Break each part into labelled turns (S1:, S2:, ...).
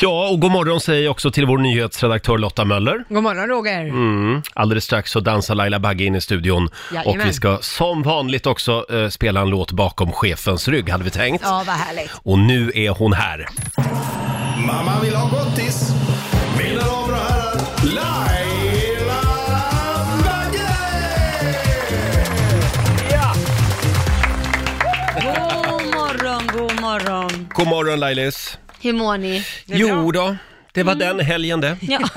S1: Ja, och god morgon säger jag också till vår nyhetsredaktör Lotta Möller.
S2: God morgon Roger.
S1: Mm. Alldeles strax så dansar Laila Bagge in i studion.
S2: Jajamän.
S1: Och vi ska som vanligt också eh, spela en låt bakom chefens rygg, hade vi tänkt.
S2: Ja, vad härligt.
S1: Och nu är hon här.
S3: Mamma vill ha gottis. Mina damer och herrar, Laila Bagge!
S4: God morgon, god morgon.
S1: God morgon Lailis.
S4: Hur mår ni?
S1: Jo då, det var den helgen det.
S4: Ja.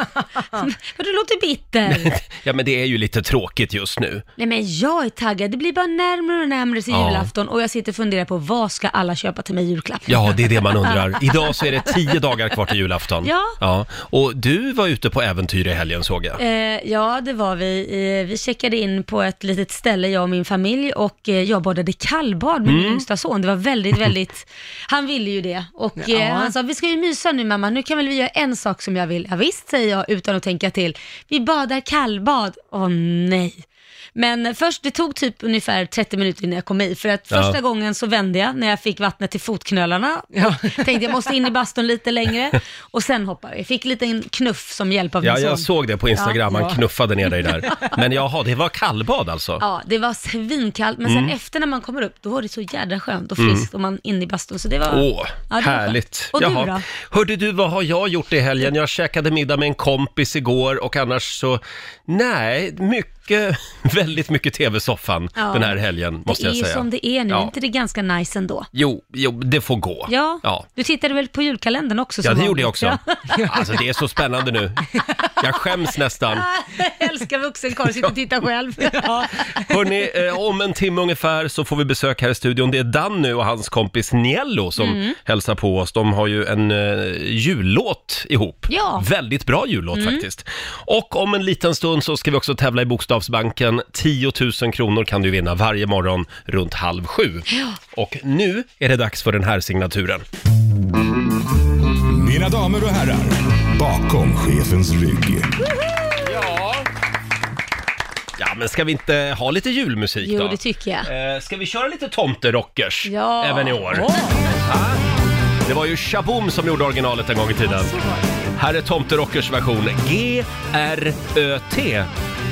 S4: Men du låter bitter.
S1: Ja, men det är ju lite tråkigt just nu.
S4: Nej men jag är taggad. Det blir bara närmare och närmare till
S1: Ja.
S4: julafton och jag sitter och funderar på vad ska alla köpa till mig i julklapp?
S1: Ja, det är det man undrar. Idag så är det tio dagar kvar till julafton.
S4: Ja.
S1: Och du var ute på äventyr i helgen såg jag.
S4: Eh, ja, det var vi. Eh, vi checkade in på ett litet ställe, jag och min familj, och eh, jag badade kallbad med
S1: Mm.
S4: min yngsta son. Det var väldigt, väldigt... Han ville ju det. Och eh,
S2: Ja.
S4: han sa, vi ska ju mysa nu mamma, nu kan väl vi göra en sak som jag vill. Ja, visst, säger jag utan att tänka till. Vi badar kallbad. Åh nej. Men först, det tog typ ungefär 30 minuter innan jag kom i, för att
S1: Ja.
S4: första gången så vände jag när jag fick vattnet till fotknölarna.
S2: Ja.
S4: Tänkte jag måste in i bastun lite längre och sen hoppade jag. Fick lite en knuff som hjälp av min
S1: Ja,
S4: son.
S1: jag såg det på Instagram. Han
S2: Ja.
S1: knuffade ner dig där. Men jaha, det var kallbad alltså?
S4: Ja, det var svinkallt, men
S1: Mm.
S4: sen efter när man kommer upp, då var det så jädra skönt och friskt och man inne i bastun. Så det var...
S1: Åh,
S4: Ja, det var
S1: härligt.
S4: skönt. Och du då?
S1: Hörde du, vad har jag gjort i helgen? Jag käkade middag med en kompis igår och annars så, nej, mycket, väldigt mycket tv-soffan
S4: Ja.
S1: den här helgen, måste
S4: det är
S1: jag
S4: ju
S1: säga.
S4: som det är nu,
S1: Ja.
S4: Är inte det är ganska nice ändå?
S1: Jo, jo, det får gå.
S4: Ja.
S1: ja.
S4: du tittade väl på julkalendern också?
S1: Ja,
S4: som
S1: det gjorde
S4: vanligt?
S1: jag också.
S4: Ja.
S1: Alltså det är så spännande nu. Jag skäms nästan.
S4: jag älskar vuxenkarl, sitter och tittar själv. ja.
S1: Hörni, eh, om en timme ungefär så får vi besök här i studion. Det är Danny och hans kompis Niello som
S4: Mm.
S1: hälsar på oss. De har ju en eh, jullåt ihop.
S4: Ja. Mm.
S1: Väldigt bra jullåt faktiskt. Och om en liten stund så ska vi också tävla i Bokstavsbanken. 10 000 kronor kan du vinna varje morgon runt halv sju. Och nu är det dags för den här signaturen.
S3: Mina damer och herrar, bakom chefens rygg.
S1: Ja, men ska vi inte ha lite julmusik då?
S4: Jo, det tycker jag.
S1: Eh, ska vi köra lite tomterockers
S4: Ja.
S1: även i år?
S4: Åh.
S1: Det var ju Shaboom som gjorde originalet en gång i tiden. Här är tomterockers version. G-R-Ö-T.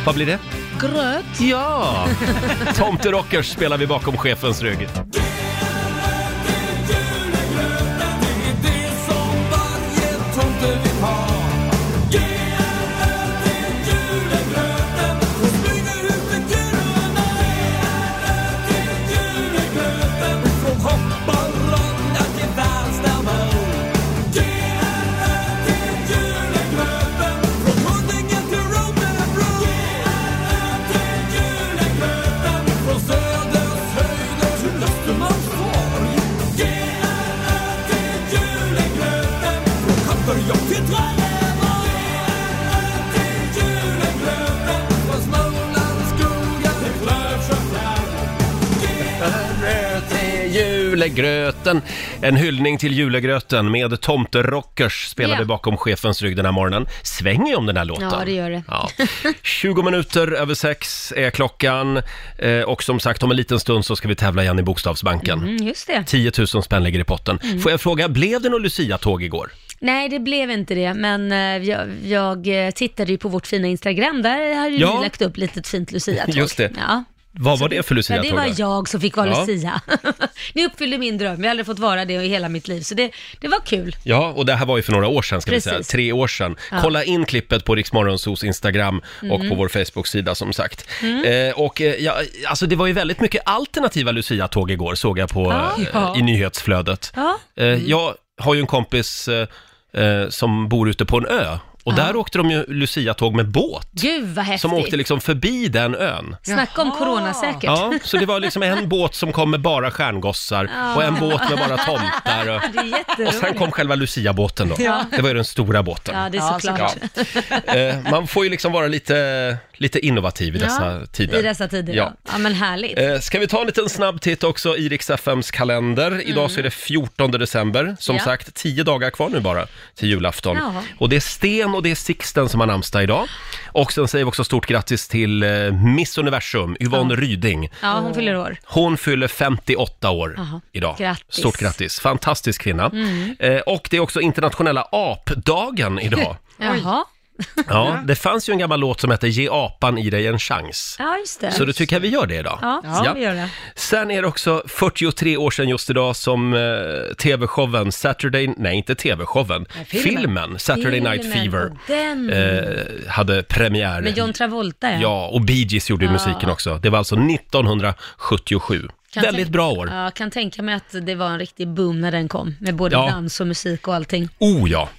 S1: Vad blir det?
S4: Gröt.
S1: Ja! Tomterockers spelar vi bakom chefens rygg. Till Julegröten. En hyllning till julegröten med tomterockers spelar
S4: Ja.
S1: vi bakom chefens rygg den här morgonen. Svänger ju om den här låten.
S4: Ja, det gör det.
S1: Ja. 20 minuter över sex är klockan eh, och som sagt om en liten stund så ska vi tävla igen i Bokstavsbanken.
S4: Mm, just det.
S1: 10 000 spänn ligger i potten. Får jag fråga, blev det något Lucia-tåg igår?
S4: Nej, det blev inte det, men eh, jag, jag eh, tittade ju på vårt fina Instagram. Där har ju
S1: Ja.
S4: ni lagt upp lite fint lucia
S1: Just det.
S4: Ja.
S1: Vad var det för
S4: Ja,
S1: Lucia-tåg?
S4: det var
S1: då?
S4: jag som fick vara
S1: Ja.
S4: Lucia. Ni uppfyllde min dröm, jag har aldrig fått vara det i hela mitt liv, så det, det var kul.
S1: Ja, och det här var ju för några år sedan, ska
S4: Precis.
S1: vi säga. Tre år sedan. Kolla in klippet på Riksmorgonsos Instagram och
S4: Mhm.
S1: på vår Facebook-sida som sagt.
S4: Mm.
S1: Eh, och eh, ja, alltså det var ju väldigt mycket alternativa Lucia-tåg igår, såg jag på,
S4: Ja.
S1: eh, i nyhetsflödet.
S4: Ja. Mm.
S1: Eh, jag har ju en kompis eh, eh, som bor ute på en ö. Och där åkte de ju Lucia-tåg med båt,
S4: Gud vad häftigt.
S1: som åkte liksom förbi den ön.
S4: Snacka om coronasäkert.
S1: Ja, så det var liksom en båt som kom med bara stjärngossar och en båt med bara tomtar. Och,
S4: Det är
S1: och sen
S4: jätteroligt.
S1: kom själva Lucia-båten då.
S4: Ja.
S1: Det var ju den stora båten.
S4: Ja, det är
S2: Ja,
S4: såklart.
S1: Ja. Eh, man får ju liksom vara lite lite innovativ i dessa
S4: ja,
S1: tider.
S4: I dessa tider, ja. Ja, men härligt.
S1: Eh, Ska vi ta en liten snabb titt också i Rix FMs kalender? Idag så är det 14 december, som
S4: Mm. Ja.
S1: sagt, tio dagar kvar nu bara till julafton.
S4: Jaha.
S1: Och det är Sten och det är Sixten som har namnsdag idag. Och sen säger vi också stort grattis till eh, Miss Universum, Yvonne Ryding.
S4: Ja, hon fyller år.
S1: Hon fyller 58 år
S4: Jaha.
S1: idag.
S4: Grattis. Mm.
S1: Stort grattis. Fantastisk kvinna. Eh, och det är också internationella apdagen idag.
S4: Jaha.
S1: Ja, det fanns ju en gammal låt som hette Ge apan i dig en chans.
S4: Ja, just det.
S1: Så då tycker jag vi gör det idag.
S4: Ja, så vi gör det.
S1: Sen är det också 43 år sedan just idag som eh, tv-showen Saturday, nej inte tv-showen, filmen.
S2: filmen.
S1: Saturday Night
S4: Filmen
S1: Fever
S4: och Den.
S1: eh, hade premiär.
S4: Med John Travolta, ja.
S1: Ja, och Bee Gees gjorde ju musiken också. Det var alltså 1977.
S4: Kan
S1: Väldigt
S4: tänk-
S1: bra år.
S4: Ja, kan tänka mig att det var en riktig boom när den kom, med både
S1: Ja.
S4: dans och musik och allting.
S1: Oh ja!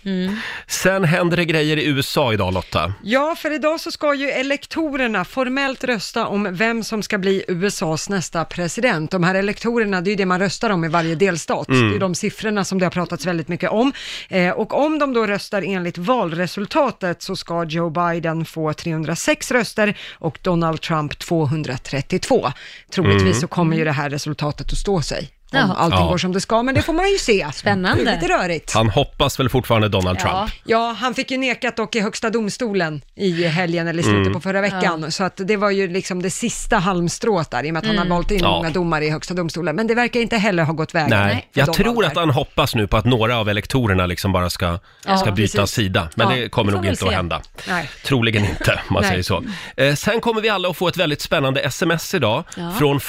S1: Sen händer det grejer i USA idag Lotta.
S2: Ja, för idag så ska ju elektorerna formellt rösta om vem som ska bli USAs nästa president. De här elektorerna, det är ju det man röstar om i varje delstat. Det är ju de siffrorna som det har pratats väldigt mycket om. Eh, och om de då röstar enligt valresultatet så ska Joe Biden få 306 röster och Donald Trump 232. Troligtvis så kommer ju det här resultatet att stå sig. Om
S4: Jaha.
S2: allting
S1: Ja.
S2: går som det ska, men det får man ju se.
S4: Spännande.
S2: Det är lite rörigt.
S1: Han hoppas väl fortfarande Donald
S4: Ja.
S1: Trump.
S2: Ja, han fick ju nekat dock i högsta domstolen i helgen eller i slutet
S1: Mm.
S2: på förra veckan. Så att det var ju liksom det sista halmstrået där i och med att han har valt in
S1: Mm. Ja.
S2: många domare i högsta domstolen. Men det verkar inte heller ha gått vägen.
S1: Nej,
S2: för
S1: jag
S2: de
S1: tror
S2: valda.
S1: att han hoppas nu på att några av elektorerna liksom bara ska,
S4: Ja,
S1: ska byta
S4: precis.
S1: sida. Men
S4: Ja,
S1: det kommer
S4: vi får
S1: nog
S4: väl
S1: inte att
S4: se.
S1: hända.
S2: Nej.
S1: Troligen inte, om man
S2: Nej.
S1: säger så. Eh, sen kommer vi alla att få ett väldigt spännande sms idag
S4: Ja.
S1: från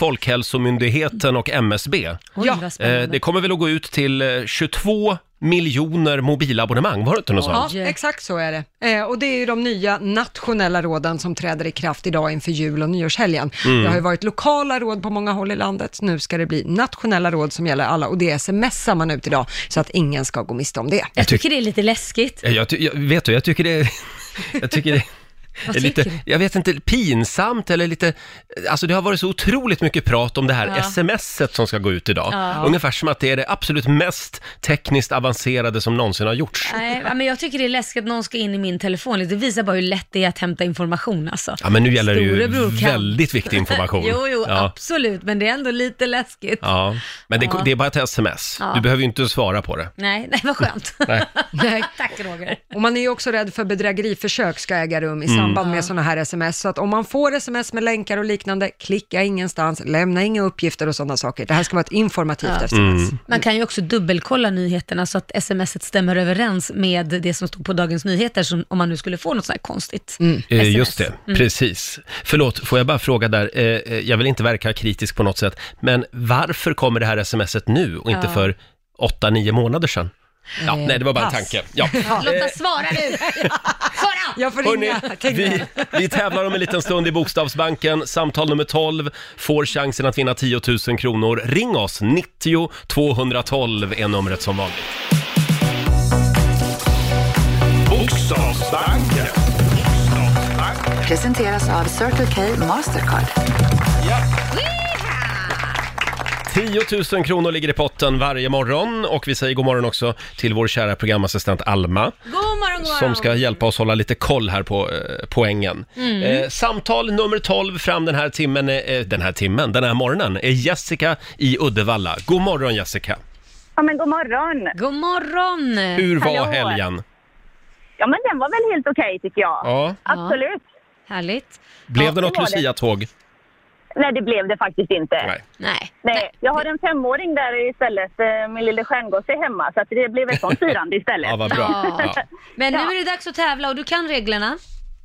S1: Folkhälsomyndigheten och MSB.
S4: Oj,
S2: Ja.
S4: vad
S1: Eh,
S4: spännande.
S1: det kommer väl att gå ut till eh, 22 miljoner mobilabonnemang, var det inte något sånt?
S2: Ja,
S4: Oj.
S2: exakt så är det. Eh, och det är ju de nya nationella råden som träder i kraft idag inför jul och nyårshelgen.
S1: Mm.
S2: Det har ju varit lokala råd på många håll i landet. Nu ska det bli nationella råd som gäller alla och det smsar man ut idag så att ingen ska gå miste om det.
S4: jag tycker det är lite läskigt.
S1: Eh, Jag, ty- jag, vet du, jag tycker det... Jag tycker det...
S4: Vad
S1: är
S4: tycker
S1: lite,
S4: du?
S1: jag vet inte, pinsamt eller lite... Alltså det har varit så otroligt mycket prat om det här
S4: Ja.
S1: smset som ska gå ut idag.
S4: Ja.
S1: Ungefär som att det är det absolut mest tekniskt avancerade som någonsin har gjorts.
S4: Nej, ja, men jag tycker det är läskigt att någon ska in i min telefon. Det visar bara hur lätt det är att hämta information alltså.
S1: Ja, men nu gäller det ju
S4: Storebror kan.
S1: väldigt viktig information.
S4: Jo, jo,
S1: ja.
S4: absolut, men det är ändå lite läskigt.
S1: ja. Men det,
S4: Ja.
S1: det är bara ett sms.
S4: Ja.
S1: Du behöver ju inte svara på det.
S4: Nej, nej, vad skönt.
S1: Nej.
S4: Tack Roger.
S2: Och man är ju också rädd för bedrägeriförsök ska äga rum
S1: Mm.
S2: i samband med sådana här sms. Så att om man får sms med länkar och liknande, klicka ingenstans, lämna inga uppgifter och sådana saker. Det här ska vara ett informativt
S1: Mm.
S2: sms.
S4: Man kan ju också dubbelkolla nyheterna så att smset stämmer överens med det som stod på Dagens Nyheter, som, om man nu skulle få något sånt här konstigt.
S1: Eh,
S4: SMS.
S1: Just det,
S2: Mm.
S1: precis. Förlåt, får jag bara fråga där, eh, eh, jag vill inte verka kritisk på något sätt, men varför kommer det här smset nu och inte
S4: Ja.
S1: för 8-9 månader sedan? Ja,
S2: Eh,
S1: nej, det var bara en
S2: pass.
S1: tanke. Ja.
S4: Lotta, svara nu! Svara!
S2: Jag får
S1: Hörrni,
S2: ringa. Tänk
S1: vi,
S2: det.
S1: vi tävlar om en liten stund i Bokstavsbanken. Samtal nummer 12 får chansen att vinna 10 000 kronor. Ring oss, 90 212 är numret som vanligt.
S3: Bokstavsbanken.
S5: Presenteras av Circle K Mastercard.
S1: 10 000 kronor ligger i potten varje morgon och vi säger god morgon också till vår kära programassistent Alma.
S4: God morgon, god morgon.
S1: som ska hjälpa oss hålla lite koll här på eh, poängen. Eh, samtal nummer 12 fram den här timmen, eh, den här timmen, den här morgonen, är Jessica i Uddevalla. God morgon Jessica!
S6: Ja, men god morgon.
S4: God morgon!
S1: Hur var
S6: Hallå.
S1: helgen?
S6: Ja, men den var väl helt okej tycker jag.
S1: Ja.
S6: Absolut.
S4: Härligt.
S1: Blev det
S6: det
S1: något
S6: var det.
S1: Lucia-tåg?
S6: Nej, det blev det faktiskt inte.
S1: Nej.
S4: Nej.
S6: Nej, jag har en femåring där istället. Eh, Min lille stjärngosse är hemma, så att det blev ett sånt firande istället.
S1: Ja, vad bra.
S4: Ja.
S1: Ja.
S4: Men nu
S6: Ja.
S4: är det dags att tävla och du kan reglerna.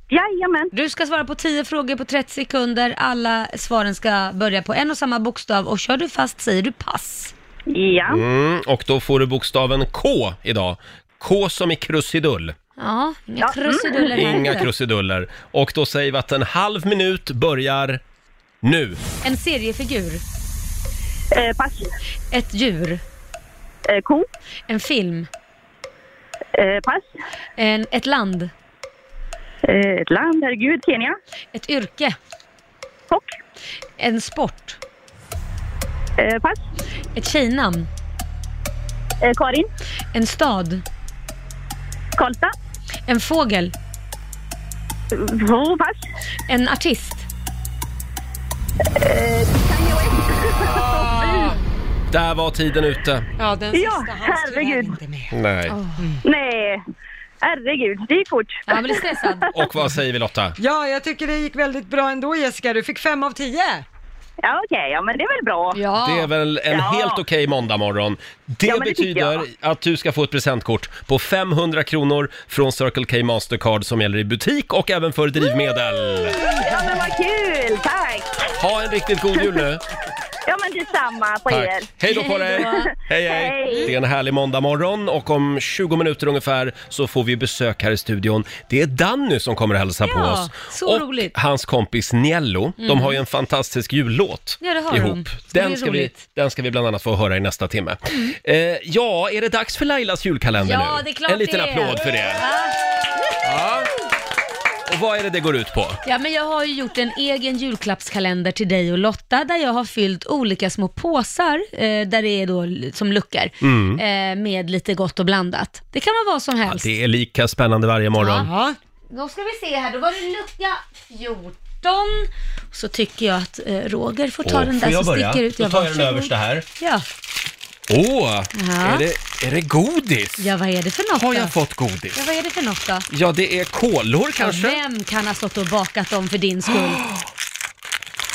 S6: Jajamän.
S4: Du ska svara på 10 frågor på 30 sekunder. Alla svaren ska börja på en och samma bokstav och kör du fast säger du pass.
S6: Ja.
S1: Mm, och då får du bokstaven K idag. K som i krusidull,
S4: Ja, Mm. inga krusiduller här.
S1: inga krusiduller. Och då säger vi att en halv minut börjar nu.
S4: En seriefigur,
S6: Eh, pass.
S4: ett djur,
S6: Eh, ko.
S4: en film,
S6: Eh, pass.
S4: en, ett land,
S6: Eh, ett land, herregud. Kenya.
S4: ett yrke,
S6: Kock.
S4: en sport,
S6: Eh, pass.
S4: ett tjejnamn,
S6: Eh, Karin.
S4: en stad,
S6: Karlstad.
S4: en fågel,
S6: Jo, pass.
S4: En artist.
S1: Där var tiden ute.
S2: Ja, den sista
S6: Ja,
S2: hanns tyvärr
S6: herregud.
S2: inte med.
S1: Nej.
S6: Nej, herregud, det gick fort.
S4: Ja, man blir stressad.
S1: Och vad säger vi Lotta?
S2: Ja, jag tycker det gick väldigt bra ändå Jessica. Du fick fem av tio.
S6: Ja, okej, ja, men det är väl bra.
S4: Ja.
S1: Det är väl en
S6: Ja.
S1: helt okej måndagmorgon. Det,
S6: Ja, men det tycker
S1: betyder
S6: jag.
S1: att du ska få ett presentkort på 500 kronor från Circle K Mastercard som gäller i butik och även för drivmedel.
S6: Ja, men vad kul, tack.
S1: Ha en riktigt god jul nu.
S6: Ja, men detsamma på er.
S1: Tack. Hej då på dig.
S4: Hej då.
S1: Hej, hej.
S6: Hej.
S1: Det är en härlig måndagmorgon och om 20 minuter ungefär så får vi besök här i studion. Det är Danny som kommer att hälsa på
S4: Ja,
S1: oss.
S4: så
S1: och
S4: roligt.
S1: hans kompis Nello. De har ju en fantastisk jullåt
S4: Ja, det har
S1: ihop.
S4: de. Det
S1: Den
S4: är
S1: ska, vi,
S4: roligt. Mm.
S1: den ska vi bland annat få höra i nästa timme. Eh, ja, är det dags för Lailas julkalender
S4: Ja,
S1: nu?
S4: det är klart
S1: en liten
S4: det är.
S1: applåd för det. Ja. Och vad är det det går ut på?
S4: Ja, men jag har ju gjort en egen julklappskalender till dig och Lotta där jag har fyllt olika små påsar eh, där det är då l- som luckor eh, med lite gott och blandat. Det kan vara vad som helst.
S1: Mm. Det är lika spännande varje morgon.
S2: Ja.
S4: Då ska vi se här, då var det lucka 14. Så tycker jag att eh, Roger får ta
S1: Åh,
S4: den där
S1: får jag
S4: som
S1: börja?
S4: sticker ut.
S1: Då
S4: Ja,
S1: tar jag den
S4: varsågod.
S1: översta här.
S4: Ja.
S1: Åh,
S4: Ja.
S1: är, det, är det godis?
S4: ja, vad är det för något
S1: Har
S4: då?
S1: jag fått godis?
S4: Ja, vad är det för något då?
S1: Ja, det är kolor kanske?
S4: Ja, vem kan ha stått och bakat dem för din skull?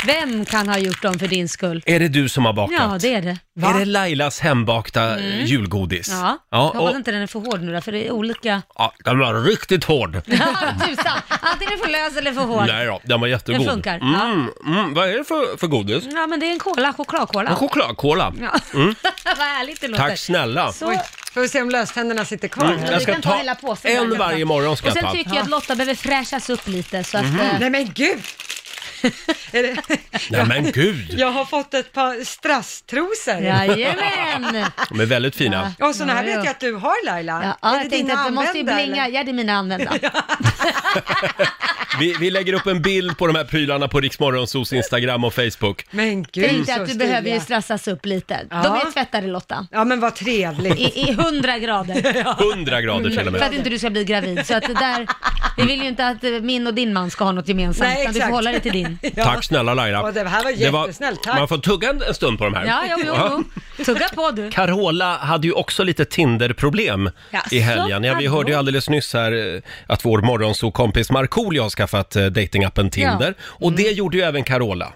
S4: Vem kan ha gjort dem för din skull?
S1: Är det du som har bakat?
S4: Ja, det är det.
S1: Är det Lailas hembakta eh, julgodis?
S4: Ja,
S1: ja
S4: jag hoppas
S1: och,
S4: inte den är för hård nu då, för det är olika.
S1: ja, den var riktigt hård.
S4: Ja, tusan! Antingen är den för lös eller för hård.
S1: Nej då, den var jättegod.
S4: Den funkar, ja.
S1: Mm, mm, vad är det för, för godis?
S4: Ja, men det är en cola, chokladcola.
S1: En chokladkola. Mm.
S4: Ja. Vad härligt det låter.
S1: Tack snälla.
S4: Så,
S2: Oj, får vi se om löständerna sitter kvar.
S1: Mm,
S2: här.
S1: jag
S4: du
S1: ska
S4: kan ta
S1: ta
S4: hela påsen där,
S1: en
S4: Lotta.
S1: varje morgon. Ska
S4: och
S1: jag
S4: sen
S1: ta. Mm.
S4: tycker jag att Lotta behöver fräschas upp lite så att... eh,
S2: Nej men gud! Är det,
S1: Nej men gud,
S2: jag har fått ett par strasstrosor.
S4: Jajamän!
S1: de är väldigt fina.
S2: Ja, sådana här
S4: Ja, ja.
S2: vet jag att du har Laila.
S4: Ja, ja,
S2: är det
S4: jag tänkte
S2: dina
S4: att det måste ju
S2: använda,
S4: blinga.
S2: eller?
S4: Ja, det är mina använda.
S1: Vi, vi lägger upp en bild på de här prylarna på Riksmorgonsos Instagram och Facebook.
S2: Men gud
S4: Tänkte
S2: så
S4: att du
S2: stiliga.
S4: behöver ju strassas upp lite.
S2: Ja.
S4: De är tvättade Lotta.
S2: Ja men vad trevligt.
S4: I, i 100 grader.
S1: 100 grader till och
S4: Mm. För att
S1: med.
S4: inte du ska bli gravid. Så att det där, vi vill ju inte att eh, min och din man ska ha något gemensamt.
S2: Nej,
S4: utan du får
S2: exakt.
S4: hålla dig till din.
S2: Ja.
S1: Tack snälla Laila.
S2: Ja, det här var
S1: Det
S2: jättesnällt, tack.
S1: Man får tugga en, en stund på de här.
S4: Ja, jo, jo, jo. Tugga på du.
S1: Carola hade ju också lite Tinder-problem
S4: Jaså,
S1: i helgen. Ja, vi
S4: hallå?
S1: hörde ju alldeles nyss här eh, att vår morgonsokompis Markoolio har skaffat eh, datingappen Tinder. Och
S4: Mm.
S1: det gjorde ju även Carola.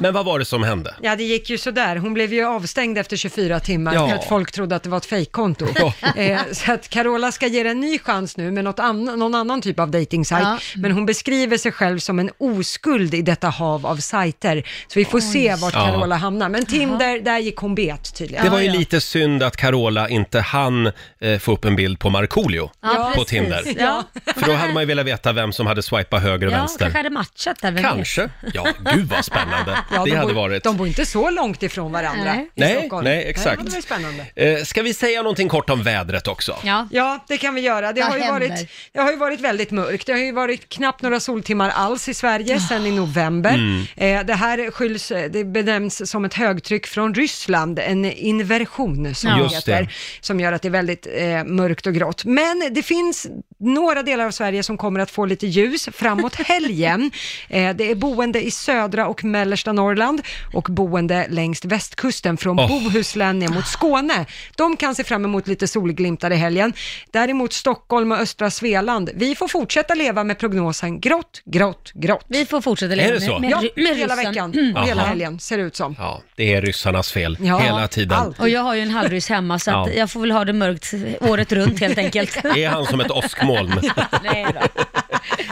S1: Men vad var det som hände?
S2: Ja, det gick ju sådär. Hon blev ju avstängd efter 24 timmar
S1: Ja.
S2: för att folk trodde att det var ett fejkkonto. Eh, så att Carola ska ge det en ny chans nu med något annan, någon annan typ av dejtingsajt.
S4: Ja.
S2: Men hon beskriver sig själv som en oskuld i detta hav av sajter. Så vi får se vart
S1: Ja.
S2: Carola hamnar. Men Tinder, där gick hon bet tydligen.
S1: Det var ju
S4: ja.
S1: lite synd att Carola inte hann eh, få upp en bild på Markoolio
S4: Ja,
S1: på
S4: precis.
S1: Tinder.
S4: Ja.
S1: För då hade man ju velat veta vem som hade swipat höger och
S4: Ja,
S1: vänster.
S4: kanske hade matchat där, vem vet?
S1: Kanske. Ja, gud vad spännande.
S2: Ja,
S1: det
S2: de
S1: hade
S2: bor,
S1: varit.
S2: De bor inte så långt ifrån varandra
S4: Nej.
S2: i
S1: Nej,
S2: Stockholm.
S1: nej, exakt.
S2: Nej, det var ju spännande.
S1: Eh, ska vi säga någonting kort om vädret också?
S4: Ja.
S2: Ja, det kan vi göra. Det
S4: Vad
S2: har, ju
S4: händer?
S2: varit, det har ju varit väldigt mörkt. Det har ju varit knappt några soltimmar alls i Sverige sedan i november.
S1: Mm.
S2: Eh, det här skylls, eh, det benämns som ett högtryck från Ryssland, en inversion som
S4: Ja.
S2: det
S1: Just
S2: heter,
S1: det.
S2: som gör att det är väldigt eh, mörkt och grått. Men det finns några delar av Sverige som kommer att få lite ljus framåt helgen. eh, det är boende i södra och mellersta Norrland och boende längs västkusten från
S1: Åh.
S2: Bohuslän ner mot Skåne. De kan se fram emot lite solglimtar i helgen. Däremot Stockholm och östra Svealand, vi får fortsätta leva med prognosen grått, grått, grått.
S4: Vi får fortsätta leva
S1: Är det
S4: med,
S1: så?
S4: med,
S2: Ja,
S4: med
S2: hela
S4: ryssen.
S2: veckan
S4: Mm.
S2: och hela
S1: Jaha.
S2: helgen ser det ut som.
S1: Ja, det är ryssarnas fel
S2: Ja,
S1: hela tiden.
S2: allt.
S4: Och jag har ju en halvryss hemma så att
S1: Ja.
S4: jag får väl ha det mörkt året runt helt enkelt.
S1: Är han som ett åskmoln?
S4: Nej då.